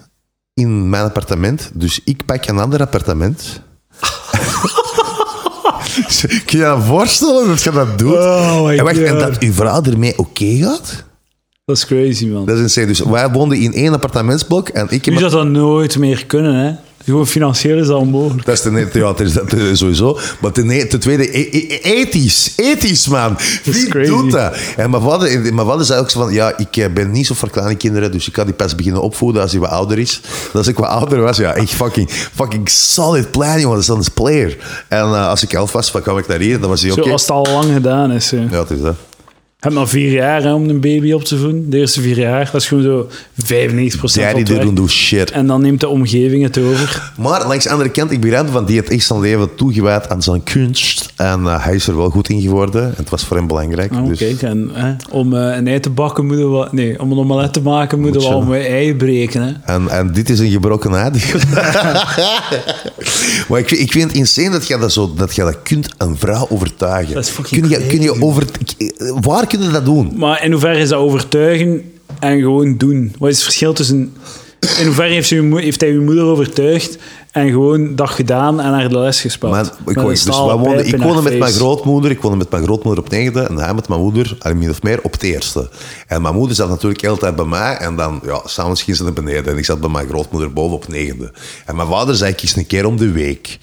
in mijn appartement, dus ik pak een ander appartement. <laughs> Kun je je dat voorstellen dat je dat doet?
Oh my
en wacht, en
God.
dat uw vrouw ermee oké gaat?
Dat is crazy, man.
Dat is insane. Dus wij woonden in één appartementsblok en ik...
Nu zou dat nooit meer kunnen, hè. Gewoon financieel is dat onmogelijk.
Dat is ten eerste, ja, dat is- dat is sowieso. Maar ten, e- ten tweede, e- e- ethisch. Ethisch, man. Wie
crazy.
doet dat? En eh, mijn vader, en mijn vader zei ook zo van, ja, ik eh, ben niet zo voor kleine kinderen, dus ik kan die pas beginnen opvoeden als hij wat ouder is. Dus als ik wat ouder was, ja, echt fucking, fucking solid plan, jongen. Dat is dan een player. En eh, als ik elf was, dan kwam ik naar hier en dan was hij oké.
Zo, als het al lang gedaan is. hè.
Ja, het is dat.
Je hebt maar vier jaar hè, om een baby op te voeden. De eerste vier jaar. Dat is gewoon zo 95%
Daddy
van het werk.
didn't do dus shit.
En dan neemt de omgeving het over.
Maar langs de andere kant, ik begrijp van die het echt zijn leven toegewijd aan zijn kunst. En eh, hij is er wel goed in geworden. En het was voor hem belangrijk.
Oh,
dus-
Kijk, en, hè, om eh, een ei te bakken moeten we... Nee, om een omelet te maken moeten we
Moet
al
je-
een ei breken. Hè.
En, en dit is een gebroken
<laughs>
aardig. maar ik, vind- ik vind het insane dat jij dat, zo, dat, jij dat kunt een vrouw overtuigen.
Dat is fucking
kun je,
crazy,
kun je over, ik- eh, waar kun je dat doen?
Maar in hoeverre is dat overtuigen en gewoon doen? Wat is het verschil tussen... In hoeverre heeft, ze uw mo- heeft hij uw moeder overtuigd en gewoon dat gedaan en haar de les gespeeld?
Maar, ik, woon- dus, wij woonden- ik woonde met mijn grootmoeder. Ik woonde met mijn grootmoeder op negende en hij met mijn moeder, eh, min of meer, op het eerste. En mijn moeder zat natuurlijk de hele tijd bij mij en dan, ja, s'avonds ging ze naar beneden. En ik zat bij mijn grootmoeder boven op negende. En mijn vader zei, kies een keer om de week.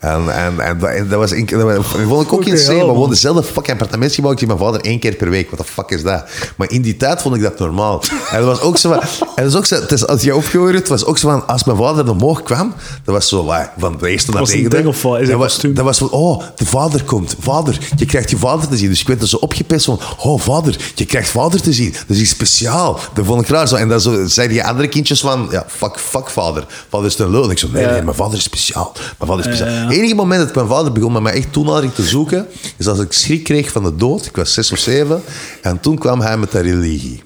En, en, en, dat- en dat was... een- Dat vond ik ook
Oké,
insane.
ja,
We
man.
woonden dezelfde fucking appartementsgebouw. Ik zie mijn vader één keer per week. Wat de fuck is dat? Maar in die tijd vond ik dat normaal. En dat was ook zo van... En dat is ook zo, het is, als je opgehoord het was ook zo van... Als mijn vader omhoog kwam, dan Dat was zo waar, van de eerste naar
was
de
een
negende.
ding of wat? Is
dat
een
was,
kostuum?
dat was van, oh, de vader komt. Vader, je krijgt je vader te zien. Dus ik werd er zo opgepest van, oh, vader, je krijgt vader te zien. Dat is iets speciaal. Dat vond ik raar zo. En dan zo, zeiden die andere kindjes van, ja, fuck, fuck vader. Vader is een lul. En ik zo, nee, nee, mijn vader is speciaal. Mijn vader is speciaal. Het enige moment dat mijn vader begon met mij echt toenadering te zoeken, is als ik schrik kreeg van de dood. Ik was zes of zeven. En toen kwam hij met de religie.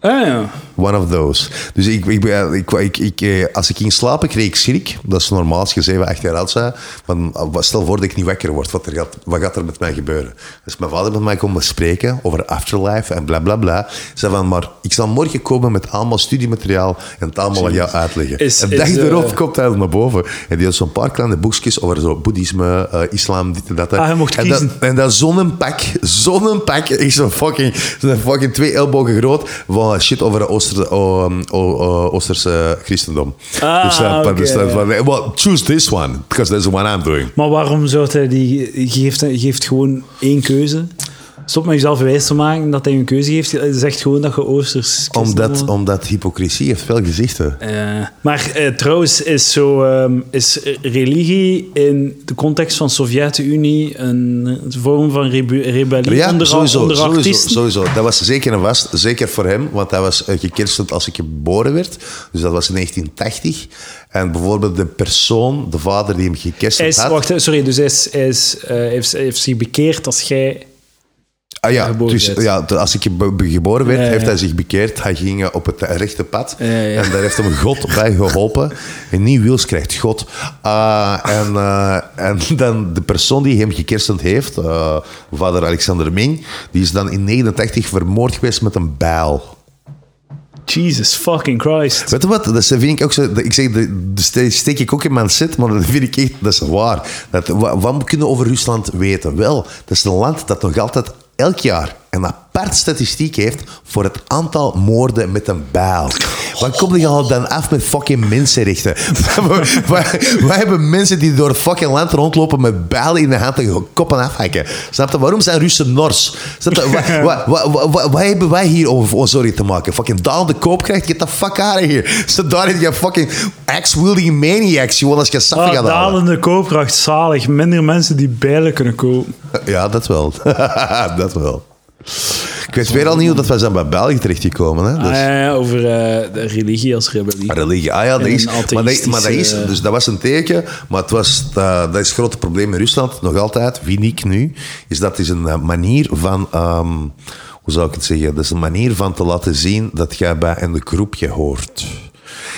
Ah ja.
One of those. Dus ik, ik, ben- ik, ik, ik, eh, als ik ging slapen, kreeg ik schrik. Dat is normaal als je 7, 8 jaar oud bent. Van, ah, wat- stel voor dat ik niet wekker word. Wat, er gaat, wat gaat er met mij gebeuren? Dus mijn vader met mij komen spreken over afterlife en bla bla bla. Zei van, maar ik zal morgen komen met allemaal studiemateriaal en het allemaal aan jou uitleggen.
Is-
en
is,
dag
eh,
erop komt hij naar boven. En die had zo'n paar kleine boekjes over zo boeddhisme, eh, islam, dit en dat.
Ah, hij mocht
en dat-
kiezen.
en dat zonnepak, zonnepak <laughs> is zo'n fucking, zo'n fucking twee ellebogen groot van shit over het Ooster, o- mm, o- o- Oosterse eh, christendom.
Ah,
dus, eh,
oké.
dus dat van, well, choose this one, because that's the one I'm doing.
Maar waarom zou hij die... Geeft, geeft gewoon één keuze. Stop met jezelf wijs te maken dat hij een keuze geeft. Hij zegt gewoon dat je oosters...
Omdat, omdat hypocrisie heeft veel gezichten.
Eh, maar eh, trouwens is, zo, ehm, is religie in de context van Sovjet-Unie een, eh, vorm van rebu- rebellie
Ja,
onder,
sowieso,
onder
sowieso,
artiesten?
sowieso. Dat was zeker en vast, zeker voor hem, want hij was eh, gekerstend als ik geboren werd. Dus dat was in 1980. En bijvoorbeeld de persoon, de vader die hem
Hij
gekerstend
is,
had...
wacht, eh, sorry, dus hij, is, hij is, eh, heeft, heeft zich bekeerd als jij...
Ah ja,
geboren
dus,
werd.
ja, de- als ik gebo- be- geboren werd,
Ja, ja.
heeft hij zich bekeerd. Hij ging eh, op het eh, rechte pad.
Ja, ja.
En daar heeft hem God bij geholpen. En niet Wils krijgt God. Ah, en, eh, en dan de persoon die hem gekerstend heeft, eh, vader Alexander Ming, die is dan in 89 vermoord geweest met een bijl.
Jesus fucking Christ.
Weet je wat? Dat vind ik ook zo. dat- Ik zeg, dat- dat steek ik ook in mijn zit, maar dat vind ik echt, dat is waar. Dat, wat, wat we kunnen over Rusland weten? Wel, dat is een land dat nog altijd elk jaar een apart statistiek heeft voor het aantal moorden met een bijl. Wat kom je al dan af met fucking <laughs> mensenrechten? wij, wij- wij hebben mensen die door het fucking land rondlopen met bijlen in de hand en koppen afhakken. Snap je? Waarom zijn Russen Nors? Snap je?
<laughs>
Wa- wa- wa- wa- wa- Wat hebben wij hier om om sorry te maken? Fucking dalende koopkracht, get the fuck out of here. Stop daar in je fucking axe-wielding maniacs, gewoon als je sappig
Ah,
gaat halen.
dalende koopkracht, zalig. Minder mensen die bijlen kunnen kopen.
Ja, dat wel. <laughs> dat wel. Ik weet weer al niet hoe dat wij zijn bij België terechtgekomen. Hè? Dus-
Ah, ja, ja, over eh, de religie als rebellie.
religie. Ah ja, dat
En
is,
een
maar, dat, maar dat is,
atheïstische-
dus dat was een teken, maar het was, dat, dat is het grote probleem in Rusland, nog altijd, vind ik nu, is dat is een eh, manier van, ehm, hoe zou ik het zeggen, dat is een manier van te laten zien dat jij bij een groepje hoort.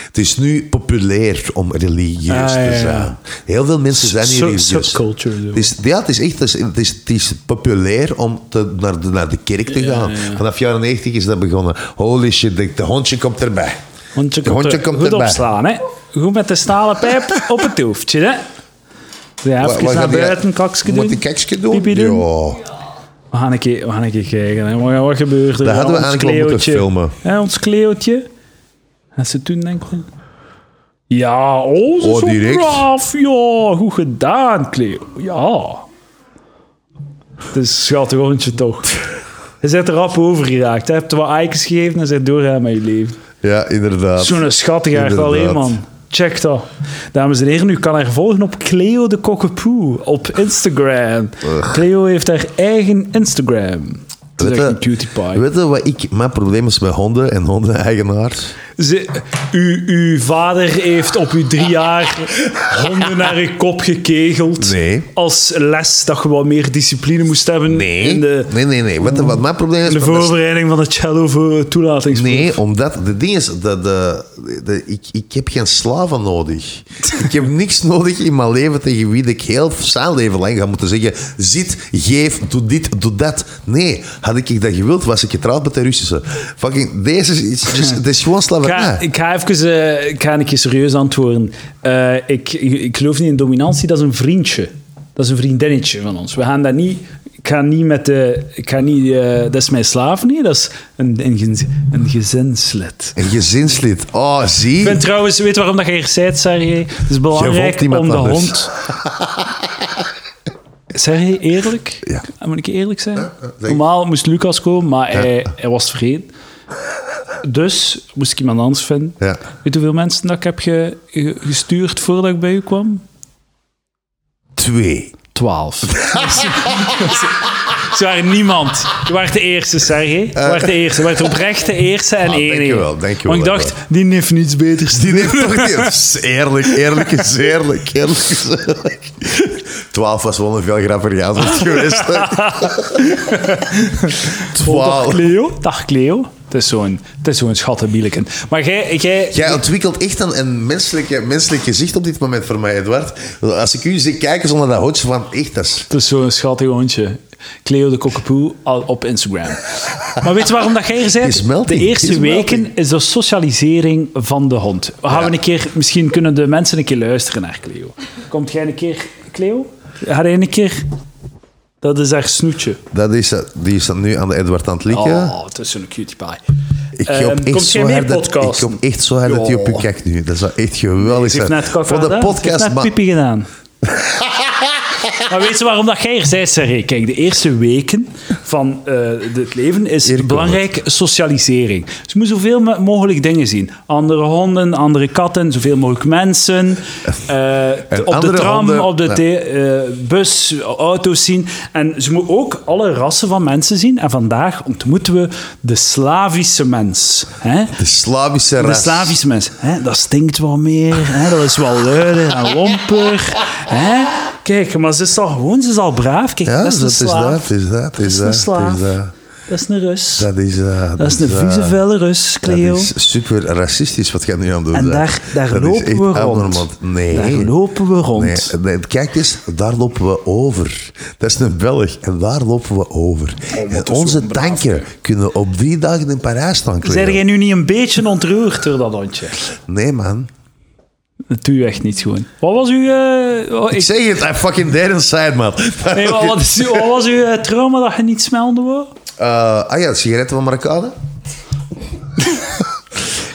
Het is nu populair om religieus
Ah,
te
ja, ja.
zijn. Heel veel mensen zijn niet
Sub-
religieus.
subculture, zo.
Het is, ja, het is echt het is, het is, het is populair om te, naar, de, naar de kerk te gaan. Vanaf jaren 90 is dat begonnen. Holy shit, de, de hondje komt erbij.
Hondje
De
komt,
hondje
er-
komt
goed
erbij.
opslaan, hè. Goed met de stalen
<laughs>
pijp op het hoofdje, hè. Ja,
Wa-
even
wat
naar
gaat die-
buiten, kaksje doen.
Moet ik kaksje doen?
Pipi doen.
Ja.
We gaan een keer, we gaan een keer kijken, hè. Wat, wat gebeurt er?
Dat hadden we
Ons
eigenlijk wel
kleeuwtje.
moeten filmen.
Hè, ons kleeuwtje. En ze toen denkt... hè. Ja, oh, ze
Oh,
is zo
direct.
braaf. Ja, goed gedaan, Cleo. Ja. Het is een schattig hondje,
<laughs>
toch. Je zit er rap over geraakt. Je hebt wat eikens gegeven en zit doorgaan met je leven.
ja, inderdaad.
Zo'n schattige echt
Inderdaad.
alleen, man. Check dat. Dames en heren, u kan haar volgen op Cleo de Kokkepoe op Instagram. Cleo heeft haar eigen Instagram. Dat is echt een cutie pie.
Weet je wat ik, mijn probleem is met honden en hondeneigenaars?
Ze, u, uw vader heeft op uw drie jaar honden naar je kop gekegeld.
Nee.
Als les dat je wat meer discipline moest hebben in de,
nee, nee, nee. Weet je wat mijn probleem is?
in de
met mijn
voorbereiding van de cello voor toelatingsproef.
Nee, omdat de ding is, dat de, de- ik, ik heb geen slaven nodig. <laughs> ik heb niks nodig in mijn leven tegen wie ik heel zijn leven lang ga moeten zeggen: zit, geef, doe dit, doe dat. Nee, had ik dat gewild, was ik getrouwd met de Russische. Fucking, deze is, is, is, het is gewoon
Ik ga,
slavernij.
ik ga even eh, ik ga een keer serieus antwoorden. Eh, ik, ik, ik geloof niet in dominantie, dat is een vriendje. Dat is een vriendinnetje van ons. We gaan dat niet. Ik ga niet met de. Ik ga niet. eh, dat is mijn slaaf, nee. Dat is een, een, gez- een gezinslid.
Een gezinslid. Oh, zie.
Ik ben trouwens, weet waarom dat je hier bent, Sergej? Het is
vond
belangrijk om de
niemand anders.
hond... Sergej, eerlijk? Ah,
Ja.
Moet ik eerlijk zijn?
zeg ik.
Normaal moest Lucas komen, maar hij, hij was vergeten. Dus moest ik iemand anders vinden.
Ja.
Weet je hoeveel mensen dat ik heb ge- ge- gestuurd voordat ik bij u kwam?
Twee.
Twaalf. <laughs> Ze waren niemand. Je was de eerste, Sergej. Je was de eerste. Je was oprecht de eerste en enige.
Ah, dankjewel, dankjewel,
Want ik dacht, die heeft niets beters.
Die neemt toch niet. <laughs> Dat is Eerlijk, eerlijk is eerlijk, eerlijk is eerlijk. Twaalf was wel een veel grappiger antwoord
<laughs>
geweest.
Dag
Twaalf.
Cleo. Dag Cleo. Het is zo'n het is zo'n schattenbieleken. Maar jij... jij
Jij ontwikkelt echt een, een menselijk, menselijk gezicht op dit moment voor mij, Edward. Als ik u zie kijken zonder dat hotje van echt, dat is...
Het is zo'n schattig hondje. Cleo de Kokkepoe al op Instagram.
<laughs>
Maar weet je waarom dat jij er bent?
Is melting,
De eerste
is
weken
melting.
is de socialisering van de hond. We gaan
Ja.
een keer, misschien kunnen de mensen een keer luisteren naar Cleo. Komt jij een keer, Cleo? Ga jij een keer? Dat is haar snoetje.
Dat is, die is dan nu aan de Edward aan het likken.
Oh, het is zo'n cutie pie.
Ik
Ehm,
hoop echt
komt jij
zo
mee
hard dat, ik
podcasten?
hoop echt zo hard dat je op je
Ja.
kijkt nu. Dat zou echt geweldig
Ze heeft
zijn.
net kak
Voor de
gedaan. Ze heeft
podcast,
net
maar
pipi
<laughs>
gedaan. maar weet je waarom dat jij er zei, Sergej? Kijk, de eerste weken van eh het leven is
komt
belangrijk socialisering. Dus je moet zoveel mo- mogelijk dingen zien. Andere honden, andere katten, zoveel mogelijk mensen. eh,
<laughs> En
op de
andere
tram,
honden,
op de
ja.
the- eh, bus, auto's zien. En ze moet ook alle rassen van mensen zien. En vandaag ontmoeten we de Slavische mens. Hè?
de Slavische
De
ras.
Slavische mensen, hè, dat stinkt wel meer, hè, dat is wel luider en lomper. Hè. Kijk, maar ze is al gewoon, ze is al braaf. Kijk,
Ja,
dat is een
dat is
slaaf.
dat, is dat, is
een
dat. is
slaaf.
dat.
Dat is een Rus.
Dat is eh,
Dat is een
eh,
vieze, vuile Rus,
Dat
Cleo.
is super racistisch wat jij nu aan het doen
En
bent.
daar, daar
Dat is
lopen
echt
we rond.
abnormaal. Nee.
Daar lopen we rond.
Nee, nee, kijk eens, daar lopen we over. Dat is een Belg en daar lopen we over.
dus
en onze tanken kunnen op drie dagen in Parijs staan. Cleo.
Zijn jij nu niet een beetje ontroerd door dat hondje?
Nee, man.
Dat doe je echt niet gewoon. Wat was uw... eh, oh,
Ik
ik-
zeg het, I fucking dead inside, man.
nee, wat, wat is uw- wat was uw eh, trauma dat je niet smelden wou?
Eh, ah ja, de sigaretten van Marokkanen. <laughs>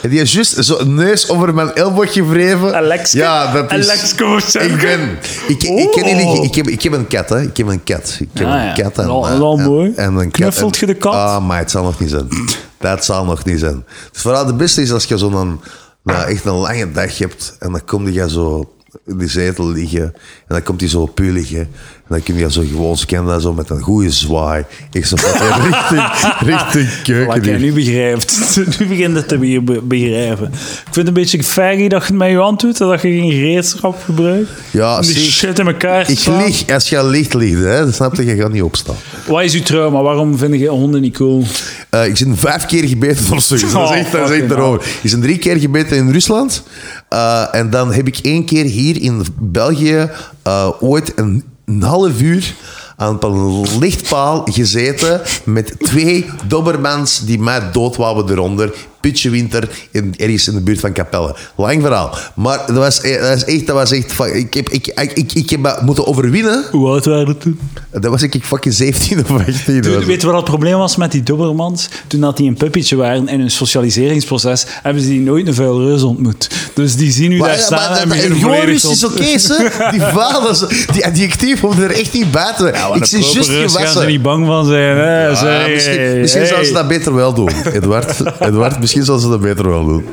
En die is juist zo'n neus over mijn elleboog gewreven.
Alexke?
Ja, dat is...
Alexke Wozenke?
Ik ben... Ik, ik, ken
Oh.
jullie- ik, heb, ik heb een kat, hè. Ik heb een kat. Ik heb
Ah,
een
ja.
kat. En,
Wel-
eh,
wel
en-
mooi.
En een kat,
Knuffelt
en-
je de kat?
Ah, maar het zal nog niet zijn. <clears throat> Dat zal nog niet zijn. Dus vooral de beste is als je zo'n... nou, echt een lange dag hebt. En dan komt je zo in die zetel liggen. En dan komt hij zo op u liggen. En dan kun je zo gewoon scannen, zo met een goede zwaai. Ik zo van,
<laughs>
eh, richting, richting
Wat jij
keuken.
nu begrijpt. <laughs> Nu begint het te be- be- begrijpen. Ik vind het een beetje faggy dat je het met je hand doet en dat je geen gereedschap gebruikt.
Ja,
Om die
zie,
shit in elkaar te
Ik
slaan.
lig, als je licht ligt, hè, dan snap je, je gaat niet opstaan.
Wat is uw trauma? Waarom vind je honden niet cool?
Eh, ik ben vijf keer gebeten <laughs> voor zoiets. Dat
Oh,
is echt, dat is echt
fucking
erover. Ik ben drie keer gebeten in Rusland. Eh, en dan heb ik één keer hier in België eh, ooit een, een half uur aan een lichtpaal gezeten met twee dobbermans die mij doodwouden eronder. Pitje winter in, ergens in de buurt van Capelle. Lang verhaal. Maar dat was, eh, dat was echt... Dat was echt fuck- ik, heb, ik, ik, ik, ik heb dat moeten overwinnen.
Hoe oud waren het toen?
Dat was ik fucking 17 of 18. was
Toen-
ik.
Weet je wat het probleem was met die Dobermans? Toen dat die een puppetje waren in hun socialiseringsproces, hebben ze die nooit een vuil reus ontmoet. Dus die zien u
Maar,
daar
ja,
staan
maar
en
dat,
beginnen
gewoon
volledig
Rus is
tot- <laughs>
oké, hè? Die vaders, die adjectief hoeft er echt niet buiten.
Ja, maar
ik
een
zie
proper
juist
reus gaan ze
gewassen.
niet bang van zijn. Hè?
Ah,
Zeg,
misschien
hey,
misschien
hey.
zouden ze dat beter wel doen,
<laughs>
Edward. Edward, misschien zouden ze dat beter wel doen.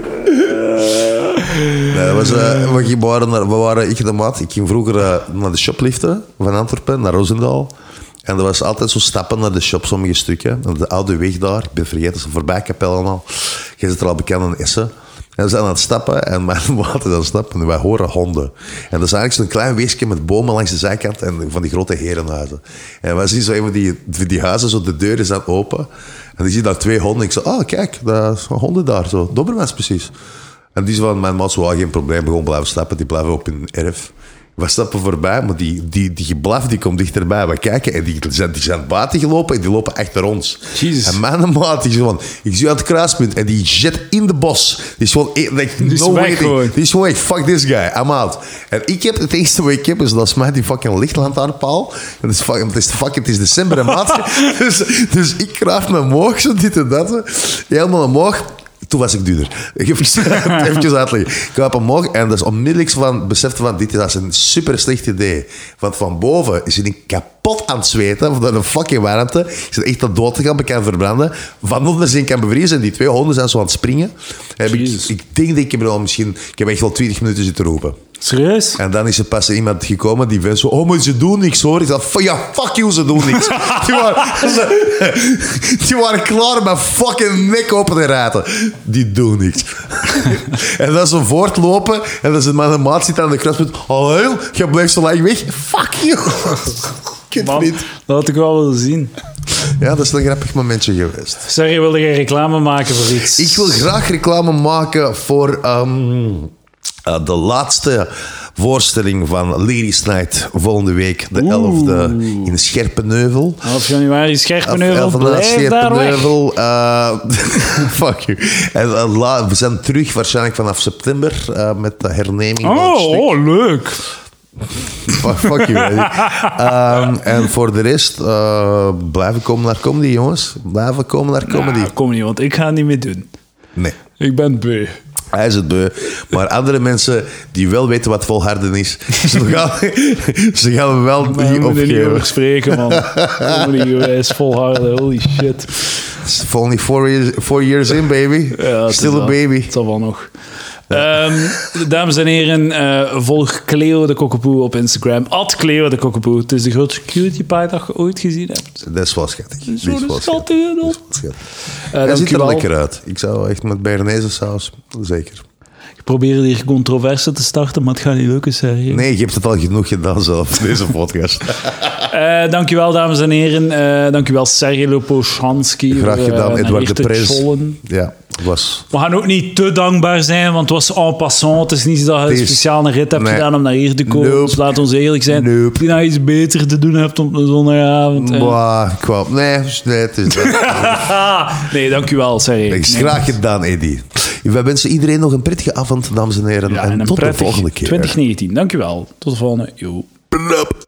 Nee, dat was, eh, we, gingen- we waren, naar- we waren, ik en de maat, ik ging vroeger eh, naar de shopliften van Antwerpen naar Roosendaal. En er was altijd zo stappen naar de shop, sommige stukken. En De oude weg daar, ik ben vergeten, ze voorbij Kapel en al. Je zit er al bekend in Essen. En we zijn aan het stappen en <laughs> mijn maat is aan het stappen en wij horen honden. En dat is eigenlijk zo'n klein weesje met bomen langs de zijkant en van die grote herenhuizen. En wij zien zo even die, die huizen, zo de deuren zijn open. En die zien daar twee honden. Ik zo, ah kijk, daar zijn honden daar, zo. Dobermans precies. En die is van mijn maat, wel geen probleem, gewoon blijven stappen. Die blijven op hun erf. We stappen voorbij, maar die, die, die geblaf die komt dichterbij. We kijken en die zijn, die zijn buiten gelopen en die lopen achter ons.
Jezus.
En mijn maat die is van, ik zie aan het kruispunt en die jet in de bos. Die is gewoon, eh, like,
is
no
weg
waiting.
gewoon.
Die is gewoon, like, fuck this guy, I'm out. En ik heb, het enige wat ik heb is, dat is mij die fucking lichtlantaarnpaal. Het is, fucking, het is, fucking, het is <laughs> december en maat. dus, dus ik kraaf naar omhoog, zo dit en dat. Helemaal omhoog. Toen was ik duurder. Ik heb <laughs> even uitleggen. Ik kwam omhoog en dus onmiddellijk van, besefte van, dit is een super slecht idee. Want van boven is hij kapot aan het zweten, van een fucking warmte. Is het echt aan dood te gaan, maar kan verbranden. Van onder zijn kan bevriezen en die twee honden zijn zo aan het springen. Heb ik,
Jezus.
ik denk dat ik heb er al misschien, ik heb echt wel 20 minuten zitten roepen.
Serieus?
En dan is er pas iemand gekomen die was zo... Oh, maar ze doen niks, hoor. Ik dacht, "Fu- ja, fuck you, ze doen niks. die, waren, ze- die waren klaar met fucking nek open te raten. Die doen niks. <laughs> en dan ze voortlopen en dan zit mijn maat zit aan de kruispunt. Oh, heel, je blijft zo lang weg. Fuck you. <laughs>
Man,
Kutvriend.
dat had ik wel willen zien.
Ja, dat is een grappig momentje geweest.
Zeg, je wilde geen reclame maken voor iets.
Ik wil graag reclame maken voor ehm, eh, de laatste voorstelling van Ladies Night volgende week, de 11e in Scherpenheuvel.
11 januari, Scherpenheuvel,
Elfde naar
blijf daar weg.
Scherpenheuvel. eh, <laughs> fuck you. En, eh, la- we zijn terug waarschijnlijk vanaf september eh, met de herneming. van het
Oh,
stuk.
oh, leuk.
Fuck, fuck you. weet ik. Ehm, en voor de rest, eh, blijven komen naar comedy, jongens. Blijven komen naar comedy.
Nou, kom niet, want ik ga het niet meer doen.
Nee.
Ik ben beu.
Hij is het beu. Maar andere mensen die wel weten wat volharden is, <laughs> ze gaan, ze gaan hem wel
Maar we
niet
moeten er niet
opgeven.
over spreken,
<laughs>
man. Comedy is volharden, holy shit.
It's only four years, four years in, baby.
Ja, het
Still
is
a
wel-
baby.
Het zal wel nog. Ehm, dames en heren, eh, volg Cleo de Kokkepoe op Instagram. At Cleo de Kokkepoe. Het is de grootste cutie pie dat je ooit gezien hebt.
Dat is wel schattig. Dat is wel
Zo'n
schattig.
schattige
Dat is
hond.
wel schattig.
Eh,
Hij ziet er
dankjewel.
lekker uit. Ik zou echt met Bernese saus, zeker.
Ik probeer hier controverse te starten, maar het gaat niet lukken, Sergio.
Nee, je hebt het al genoeg gedaan zelf, <laughs> deze podcast.
Eh, dankjewel, dames en heren. Eh dankjewel, Sergej eh, Lopochanski.
Graag gedaan, Edouard de Prez.
Prins.
Ja, het was...
We gaan ook niet te dankbaar zijn, want het was en passant. Het is niet zo dat je
Het is-
speciaal een rit hebt
nee.
gedaan om naar hier te komen.
Nope.
Dus laat ons eerlijk zijn.
Nope.
Als je nou iets beter te doen hebt op een zondagavond. eh.
Bah, ik wou- Nee, nee, het is...
Ah, nee, dankjewel, Sergej.
Ik
Nee.
Graag gedaan, Eddy. Wij wensen iedereen nog een prettige avond, dames en heren.
Ja,
en,
en een
tot de
prettig
volgende keer.
2019. Dankjewel. Tot de volgende. Yo.
Blup.